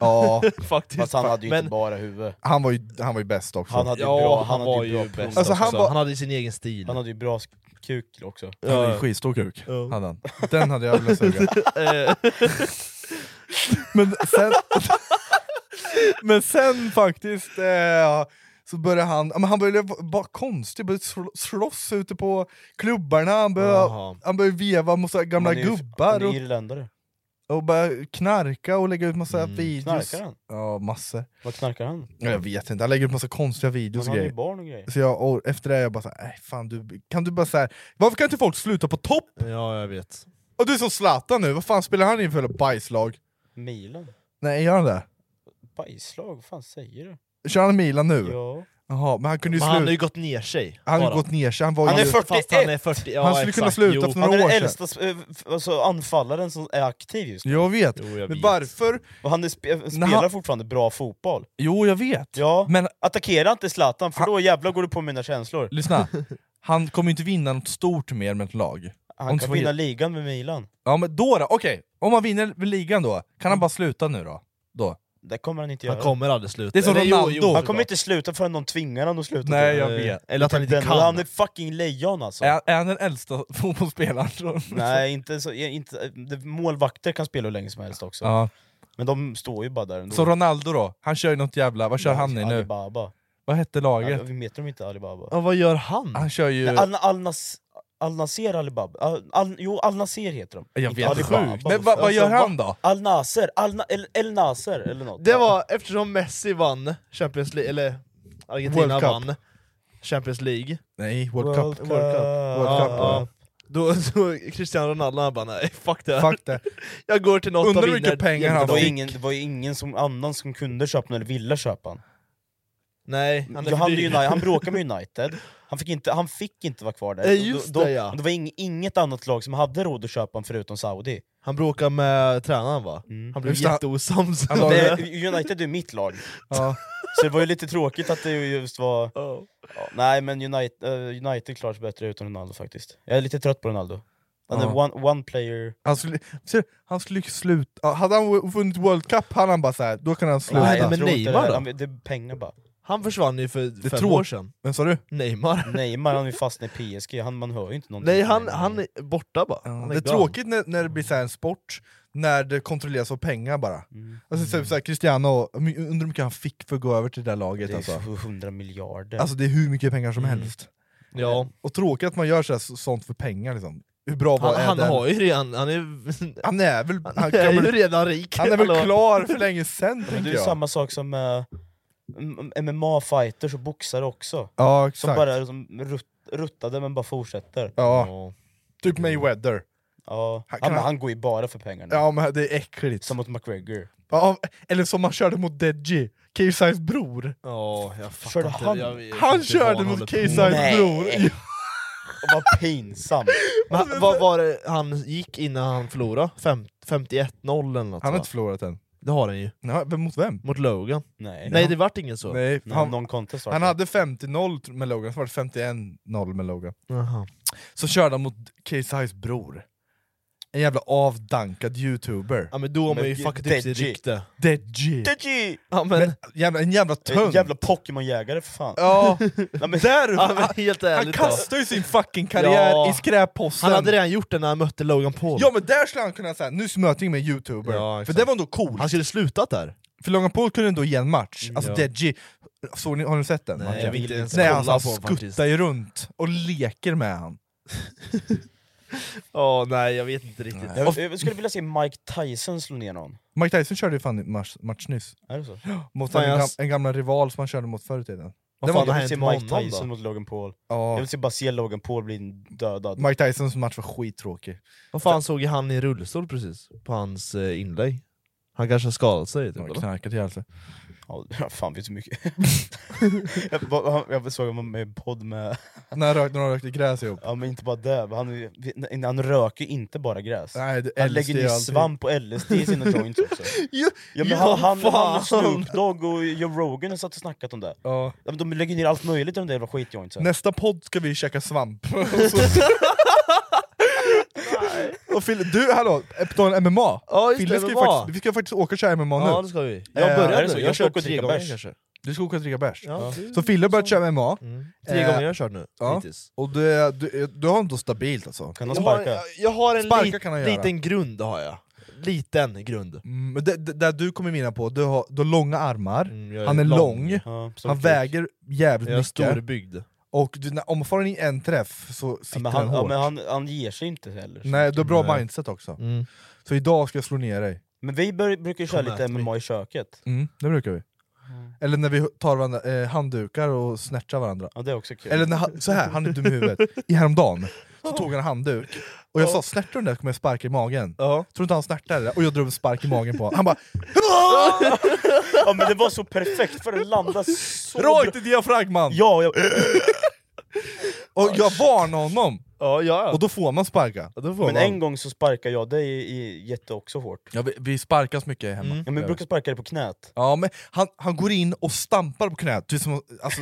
Speaker 4: Ja,
Speaker 5: Faktiskt.
Speaker 3: Fast han hade ju
Speaker 5: Men-
Speaker 3: inte bara huvud.
Speaker 4: han var ju, han var ju bäst också.
Speaker 3: Han hade ju
Speaker 5: Ja,
Speaker 3: bra,
Speaker 5: han
Speaker 3: han
Speaker 5: var
Speaker 3: hade ju
Speaker 5: ju
Speaker 3: bra
Speaker 5: bäst
Speaker 3: pung.
Speaker 4: Alltså, han
Speaker 5: Så
Speaker 4: var-
Speaker 5: han hade ju sin egen stil.
Speaker 3: Han hade ju bra sk- kuk också.
Speaker 4: Han hade ju skitstor kuk.
Speaker 5: Ja.
Speaker 4: Hade han. Den hade jag velat
Speaker 3: [laughs]
Speaker 4: suga.
Speaker 5: Eh,
Speaker 4: Men sen, [laughs] men sen faktiskt eh, så började han, ja, men han började vara konstig, började sl- slåss ute på klubbarna, han
Speaker 5: Jaha.
Speaker 4: började, han började veva mot så här gamla
Speaker 3: Han är ju-
Speaker 4: gubbar
Speaker 3: Han är
Speaker 4: och,
Speaker 3: irländare.
Speaker 4: och började knarka och lägga ut massa
Speaker 3: Mm,
Speaker 4: videos.
Speaker 3: Knarkar han?
Speaker 4: Ja, massor.
Speaker 3: Vad knarkar han?
Speaker 4: Ja, Jag vet inte, han lägger ut massa konstiga videos och
Speaker 3: Han har ju
Speaker 4: grejer.
Speaker 3: barn och grejer.
Speaker 4: Så jag, och efter det är jag bara såhär, fan du, kan du bara såhär, varför kan inte folk sluta på topp?
Speaker 5: ja, jag vet.
Speaker 4: Och du är som Zlatan nu, vad fan spelar han i för jävla bajslag?
Speaker 3: Milan?
Speaker 4: Nej, gör han det?
Speaker 3: Bajslag? Vad fan säger du?
Speaker 4: Kör han Milan nu?
Speaker 3: Ja.
Speaker 4: Jaha, men han kunde ju
Speaker 5: Men han har
Speaker 4: sluta.
Speaker 5: ju gått ner sig.
Speaker 4: Han har
Speaker 5: bara.
Speaker 4: ju gått ner sig, han var
Speaker 3: Han
Speaker 4: ju...
Speaker 3: är 41!
Speaker 5: Fast han är 40, ja,
Speaker 4: Han skulle kunna
Speaker 5: exakt.
Speaker 4: sluta
Speaker 5: Jo.
Speaker 4: för
Speaker 3: Han
Speaker 4: några
Speaker 3: är
Speaker 4: år
Speaker 3: den
Speaker 4: sedan.
Speaker 3: äldsta eh, f- alltså, anfallaren som är aktiv just nu.
Speaker 4: Jag vet,
Speaker 5: Jo, jag
Speaker 4: men
Speaker 5: vet.
Speaker 4: varför...
Speaker 3: Och han är spe spelar
Speaker 4: han-
Speaker 3: fortfarande bra fotboll.
Speaker 4: Jo, jag vet.
Speaker 3: Ja.
Speaker 4: Men
Speaker 3: Attackera inte Zlatan, för då jävlar går du på mina känslor.
Speaker 4: lyssna, han kommer ju inte vinna något stort mer med ett lag.
Speaker 3: Han
Speaker 4: Om
Speaker 3: kan
Speaker 4: två-
Speaker 3: vinna ligan med Milan.
Speaker 4: Ja men då då, okej. Om han vinner ligan då, kan han bara sluta nu då? då.
Speaker 3: Det kommer han inte
Speaker 5: Han
Speaker 3: göra.
Speaker 5: kommer aldrig sluta.
Speaker 4: Det är som
Speaker 5: Eller, jo, jo,
Speaker 4: Ronaldo.
Speaker 3: han
Speaker 5: såklart.
Speaker 3: kommer inte sluta förrän någon tvingar honom att sluta.
Speaker 4: Nej,
Speaker 3: tror
Speaker 4: jag vet.
Speaker 5: Eh, Eller att han inte
Speaker 3: Den,
Speaker 5: kan.
Speaker 3: han är fucking lejon alltså.
Speaker 4: Är, är han den äldsta [laughs] fotbollsspelaren? tror du?
Speaker 3: Nej, inte så, eh, inte, det- målvakter kan spela hur länge som helst också.
Speaker 4: Ja.
Speaker 3: Men de står ju bara där ändå.
Speaker 4: Så Ronaldo då, han kör ju något jävla... Vad kör han i nu?
Speaker 3: Alibaba.
Speaker 4: Vad hette laget?
Speaker 3: Vi heter de inte Alibaba?
Speaker 5: Ja, vad gör han?
Speaker 4: Han kör ju...
Speaker 3: Nej, Al- Al-Nas- Al-Nasser Alibaba? Al- Al- jo, Al-Nasser heter de.
Speaker 4: Jag
Speaker 3: Inte
Speaker 4: vet inte.
Speaker 3: Alibaba.
Speaker 4: Sjukt. Men vad- vad gör
Speaker 3: Alltså,
Speaker 4: han då?
Speaker 3: Al-Nasser, Al- El- El-Nasser eller något.
Speaker 5: Det var eftersom Messi vann Champions League, eller Argentina
Speaker 4: World Cup.
Speaker 5: vann Champions League.
Speaker 4: Nej, World,
Speaker 3: World
Speaker 4: Cup.
Speaker 3: Cup.
Speaker 5: World Cup. Ah,
Speaker 4: World
Speaker 5: Ja,
Speaker 4: Cup,
Speaker 5: ja. Då, då Cristiano Ronaldo han bara nej, fuck det här.
Speaker 4: Fuck det.
Speaker 5: [laughs] Jag går till något
Speaker 4: Undrar
Speaker 5: och
Speaker 4: hur
Speaker 5: vinner.
Speaker 4: mycket pengar
Speaker 3: det
Speaker 4: han
Speaker 3: var,
Speaker 4: fick.
Speaker 3: ingen, det var ju ingen som, annan som kunde köpa honom eller ville köpa honom.
Speaker 5: Nej, han är
Speaker 3: Han,
Speaker 5: för
Speaker 3: han,
Speaker 5: dyr.
Speaker 3: United, han bråkade
Speaker 5: [laughs]
Speaker 3: med United, han fick inte, han fick inte vara
Speaker 4: Eh,
Speaker 3: kvar där.
Speaker 5: Nej, just
Speaker 3: då, då,
Speaker 5: det, ja.
Speaker 3: det var ing, inget annat lag som hade råd att köpa honom förutom Saudi.
Speaker 5: Han bråkade med tränaren va?
Speaker 3: Mm.
Speaker 5: Han blev
Speaker 4: Just det, han-
Speaker 5: jätteosams.
Speaker 4: han la-
Speaker 3: Det, United är mitt lag,
Speaker 4: Ja.
Speaker 3: så det var ju lite tråkigt att det just var...
Speaker 5: [laughs] Ja.
Speaker 3: Ja, nej men United, eh, United klarar sig bättre utan Ronaldo faktiskt. Jag är lite trött på Ronaldo. Han är
Speaker 4: Ja.
Speaker 3: one, one player...
Speaker 4: Han skulle, ser, du, han skulle sluta, ja, hade han vunnit World Cup hade han bara såhär, då kan han sluta.
Speaker 5: Nej,
Speaker 3: jag
Speaker 5: men
Speaker 3: tror inte
Speaker 5: Neymar
Speaker 3: det.
Speaker 5: då?
Speaker 3: Han, det är pengar bara.
Speaker 5: Han försvann ju för fem
Speaker 4: tror-
Speaker 5: år sedan.
Speaker 4: Men sa du? Mm.
Speaker 5: Neymar.
Speaker 3: Neymar han är fast i PSG, han, man hör ju inte någonting.
Speaker 5: Nej
Speaker 3: från
Speaker 5: han,
Speaker 3: Neymar.
Speaker 5: han är borta bara. Han
Speaker 4: det är
Speaker 5: gone.
Speaker 4: tråkigt när, när det blir så här en sport, när det kontrolleras av pengar bara. Alltså typ så här, Cristiano, my- undrar hur mycket han fick för att gå över till det där laget
Speaker 3: Det är
Speaker 4: alltså.
Speaker 3: 700 miljarder.
Speaker 4: Alltså det är hur mycket pengar som helst.
Speaker 5: Ja.
Speaker 4: Och tråkigt att man gör så här, så- sånt för pengar liksom. Hur bra var
Speaker 5: Han,
Speaker 4: är
Speaker 5: han
Speaker 4: den?
Speaker 5: har ju redan... Han är, [laughs]
Speaker 4: Han är väl, han,
Speaker 5: han
Speaker 4: kan
Speaker 5: är ju
Speaker 4: väl,
Speaker 5: redan rik.
Speaker 4: han är
Speaker 5: Hallå.
Speaker 4: väl klar för länge sen
Speaker 3: men det
Speaker 4: tänker
Speaker 3: är ju
Speaker 4: jag.
Speaker 3: samma sak som eh, m- MMA-fighters och boxare också.
Speaker 4: Ja
Speaker 3: Som
Speaker 4: exakt.
Speaker 3: bara liksom, rutt, ruttade men bara fortsätter.
Speaker 4: Ja, typ Mayweather.
Speaker 3: Ja.
Speaker 4: Han-
Speaker 3: Han,
Speaker 4: kan
Speaker 3: han,
Speaker 4: han-
Speaker 3: går ju bara för pengarna.
Speaker 4: Ja men det är äckligt.
Speaker 3: Som mot McGregor.
Speaker 4: Ja, eller som han körde mot Deji, KSI's bror.
Speaker 5: Ja, jag fattar
Speaker 3: Körde
Speaker 5: inte.
Speaker 3: han?
Speaker 5: Jag, jag
Speaker 4: Han
Speaker 5: vet inte vad
Speaker 4: körde
Speaker 5: han
Speaker 4: mot
Speaker 5: håller på
Speaker 4: KSI's
Speaker 5: med.
Speaker 3: Nej.
Speaker 4: bror!
Speaker 3: Och vad pinsamt!
Speaker 5: Men han- Vad var det han gick innan han förlorade? Fem, 51-0 eller något
Speaker 4: Han har
Speaker 5: va?
Speaker 4: inte förlorat än.
Speaker 5: Det har han ju.
Speaker 4: Ja, men mot vem?
Speaker 5: Mot Logan.
Speaker 3: Nej.
Speaker 5: Nej, det vart ingen så.
Speaker 4: Nej,
Speaker 5: Nej,
Speaker 4: han,
Speaker 5: någon contest var
Speaker 4: han
Speaker 5: det.
Speaker 4: hade 50-0 med Logan, så var det 51-0 med Logan.
Speaker 5: Jaha.
Speaker 4: Så körde han mot KSI's bror. En jävla avdankad youtuber.
Speaker 5: Ja men då har man ju fuckat upp sitt rykte.
Speaker 4: Deji!
Speaker 3: Deji!
Speaker 5: Ja, men-
Speaker 4: jävla, en jävla
Speaker 3: En
Speaker 4: tung!
Speaker 3: Jävla Pokémon-jägare för fan.
Speaker 5: [laughs]
Speaker 4: Ja. Där,
Speaker 5: Ja, men helt
Speaker 4: han
Speaker 5: ärligt
Speaker 4: kastar ju
Speaker 5: då.
Speaker 4: sin fucking karriär
Speaker 5: Ja.
Speaker 4: i skräpposten!
Speaker 5: Han hade redan gjort det när han mötte Logan Paul.
Speaker 4: Ja men där skulle han kunna säga, nu möter jag med en youtuber, för det var ändå coolt.
Speaker 5: Han skulle slutat där.
Speaker 4: För Logan Paul kunde ändå ge en match, alltså
Speaker 5: Mm, Ja.
Speaker 4: Deji, såg ni, har ni sett den?
Speaker 5: Nej,
Speaker 4: Mackan?
Speaker 5: jag vill inte ens
Speaker 4: Nej
Speaker 5: kolla
Speaker 4: alltså, han
Speaker 5: på honom,
Speaker 4: skuttar ju runt och leker med han.
Speaker 5: Ja, nej jag vet inte riktigt.
Speaker 3: Jag, jag skulle vilja se Mike Tyson slå ner någon.
Speaker 4: Mike Tyson körde ju fan i match, match nyss,
Speaker 3: Är det så?
Speaker 4: mot
Speaker 3: Fan,
Speaker 4: en,
Speaker 3: jag-
Speaker 4: gam, en gamla rival som han körde mot förr i tiden.
Speaker 3: Vad
Speaker 4: Det
Speaker 3: fan,
Speaker 4: var-
Speaker 3: jag vill se Mike Tyson mot Logan Paul.
Speaker 4: Ja.
Speaker 3: Jag vill se, bara se Logan Paul bli dödad.
Speaker 4: Mike Tysons match var skittråkig.
Speaker 5: Vad fan såg jag han i rullstol precis? På hans eh, inlägg. Han kanske har skadat sig typ, eller?
Speaker 4: Knarkat ihjäl sig.
Speaker 3: Ja, fan vet så mycket. jag, jag, jag såg honom med en podd med...
Speaker 4: När, rök, när de rökte
Speaker 5: [laughs]
Speaker 4: gräs ihop?
Speaker 3: Ja men inte bara det, men han, är ju- han röker ju inte bara gräs.
Speaker 4: Nej, det-
Speaker 3: han
Speaker 4: LSD
Speaker 3: lägger ju
Speaker 4: och allting.
Speaker 3: svamp och LSD i sina joints också.
Speaker 4: ja,
Speaker 3: men
Speaker 4: ja,
Speaker 3: han, han, han
Speaker 4: fan.
Speaker 3: och Snoop Dogg och Joe Rogan har satt och snackat om det.
Speaker 4: Ja.
Speaker 3: men de lägger ner allt möjligt i de där jävla skitjointsen.
Speaker 4: Nästa podd ska vi
Speaker 5: [laughs]
Speaker 4: käka svamp. och Fille, du, hallå, eh, på tal om MMA.
Speaker 5: Ja, just
Speaker 4: Fille
Speaker 5: det,
Speaker 4: ska ju
Speaker 5: MMA.
Speaker 4: faktiskt, vi ska faktiskt åka och köra MMA nu.
Speaker 5: Ja, Eh, det ska vi. Jag börjar nu, jag kör tre gånger kanske.
Speaker 4: Du ska åka och dricka bärs?
Speaker 5: Ja. Mm.
Speaker 4: Så Fille har börjat köra MMA.
Speaker 5: Tre
Speaker 4: Eh,
Speaker 5: gånger jag har kört nu, hittills.
Speaker 4: Och du, du, du har ändå stabilt alltså. Kan
Speaker 5: Jag har, jag, jag har en
Speaker 4: Sparka
Speaker 5: lit,
Speaker 4: kan han göra.
Speaker 5: liten grund har jag. Liten grund.
Speaker 4: Mm, men det, det, där du kommer vinna på, du har, du har långa armar,
Speaker 5: Mm, jag är
Speaker 4: han är
Speaker 5: lång.
Speaker 4: lång,
Speaker 5: Ja, stor
Speaker 4: han
Speaker 5: kuk.
Speaker 4: väger jävligt
Speaker 5: Jag är
Speaker 4: mycket.
Speaker 5: storbyggd.
Speaker 4: Och du, när, om får han i en träff så sitter
Speaker 3: Men
Speaker 4: han
Speaker 3: han, ja,
Speaker 4: hårt.
Speaker 3: men han, han ger sig inte heller.
Speaker 4: Nej, du har bra
Speaker 5: Mm.
Speaker 3: Nej.
Speaker 4: mindset också. Så idag ska jag slå ner dig.
Speaker 3: Men vi bör, brukar ju köra
Speaker 4: Kom
Speaker 3: lite
Speaker 4: ät mig.
Speaker 3: MMA i köket.
Speaker 4: Mm, det brukar vi. Eller när vi tar varandra, eh, handdukar och snärtar varandra.
Speaker 3: Ja, det är också kul.
Speaker 4: Eller när han, så här, han är dum i huvudet. I häromdagen så tog han en handduk, och jag sa snärtar du den där kommer jag sparka i magen. Tror du inte han snärtade det? Och jag drog en spark i magen på honom. Han bara "Ah!"
Speaker 3: ja, men det var så perfekt för den landade så
Speaker 4: Rakt i diafragman!
Speaker 3: Ja, jag...
Speaker 4: och jag varnade honom!
Speaker 5: Ja, ja,
Speaker 4: Och då får man sparka.
Speaker 3: Men en gång så sparkade jag dig i, i jätte också hårt.
Speaker 4: Ja, vi, vi sparkas mycket hemma.
Speaker 3: Mm. Ja, men vi brukar sparka dig på knät.
Speaker 4: Ja, men han, han går in och stampar på knät, typ som, alltså,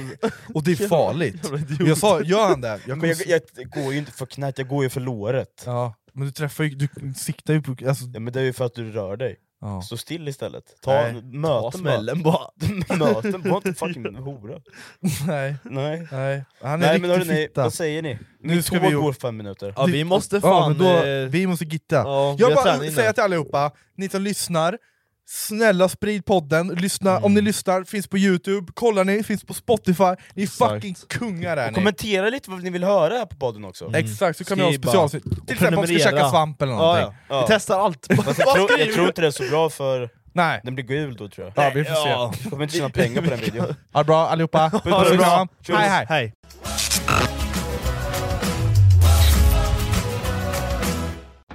Speaker 4: och
Speaker 3: [laughs]
Speaker 4: det är farligt. Jag sa, gör han det?
Speaker 3: Jag,
Speaker 4: Jag
Speaker 3: men
Speaker 4: kommer,
Speaker 3: jag, jag, går ju inte för knät, jag går ju för låret.
Speaker 4: Ja, men du träffar ju, du siktar ju på... Alltså...
Speaker 3: Ja, men det är ju för att du rör dig.
Speaker 4: Ja.
Speaker 3: Stå still istället. Ta
Speaker 4: Nej.
Speaker 3: möten bara.
Speaker 4: Ta smällen bara.
Speaker 3: möten, var inte fucking hora.
Speaker 4: [laughs] Nej.
Speaker 3: Nej.
Speaker 4: Nej. Han är
Speaker 3: Nej
Speaker 4: en
Speaker 3: men
Speaker 4: riktig
Speaker 3: hörrni,
Speaker 4: fitta.
Speaker 3: vad säger ni?
Speaker 4: Nu
Speaker 3: Mitt
Speaker 4: ska
Speaker 3: tåg
Speaker 4: vi ju-
Speaker 3: går fem minuter.
Speaker 5: Ja, vi måste
Speaker 4: Ja,
Speaker 5: fan...
Speaker 4: men då,
Speaker 5: eh,
Speaker 4: vi måste gitta.
Speaker 5: Ja, vi
Speaker 4: jag
Speaker 5: har
Speaker 4: bara
Speaker 5: träning nu.
Speaker 4: säger till allihopa, ni som lyssnar, snälla sprid podden, lyssna, om
Speaker 5: Mm.
Speaker 4: ni lyssnar, finns på youtube, kollar ni, finns på spotify, ni är fucking kungar är
Speaker 3: Och
Speaker 4: ni! Mm.
Speaker 3: kommentera lite vad ni vill höra här på podden också.
Speaker 4: Exakt, så kan vi ha specialavsnitt, till exempel om vi ska käka svamp eller någonting.
Speaker 5: [laughs]
Speaker 3: Fast jag, tror, jag tror inte det är så bra för...
Speaker 4: Nej.
Speaker 3: Den blir gul då tror jag.
Speaker 4: Ja, vi får se.
Speaker 3: Ja. Kommer inte tjäna pengar på den videon.
Speaker 4: Ha det bra
Speaker 5: [laughs]
Speaker 4: allihopa, puss och kram,
Speaker 3: Tjus.
Speaker 4: hej hej!
Speaker 5: hej.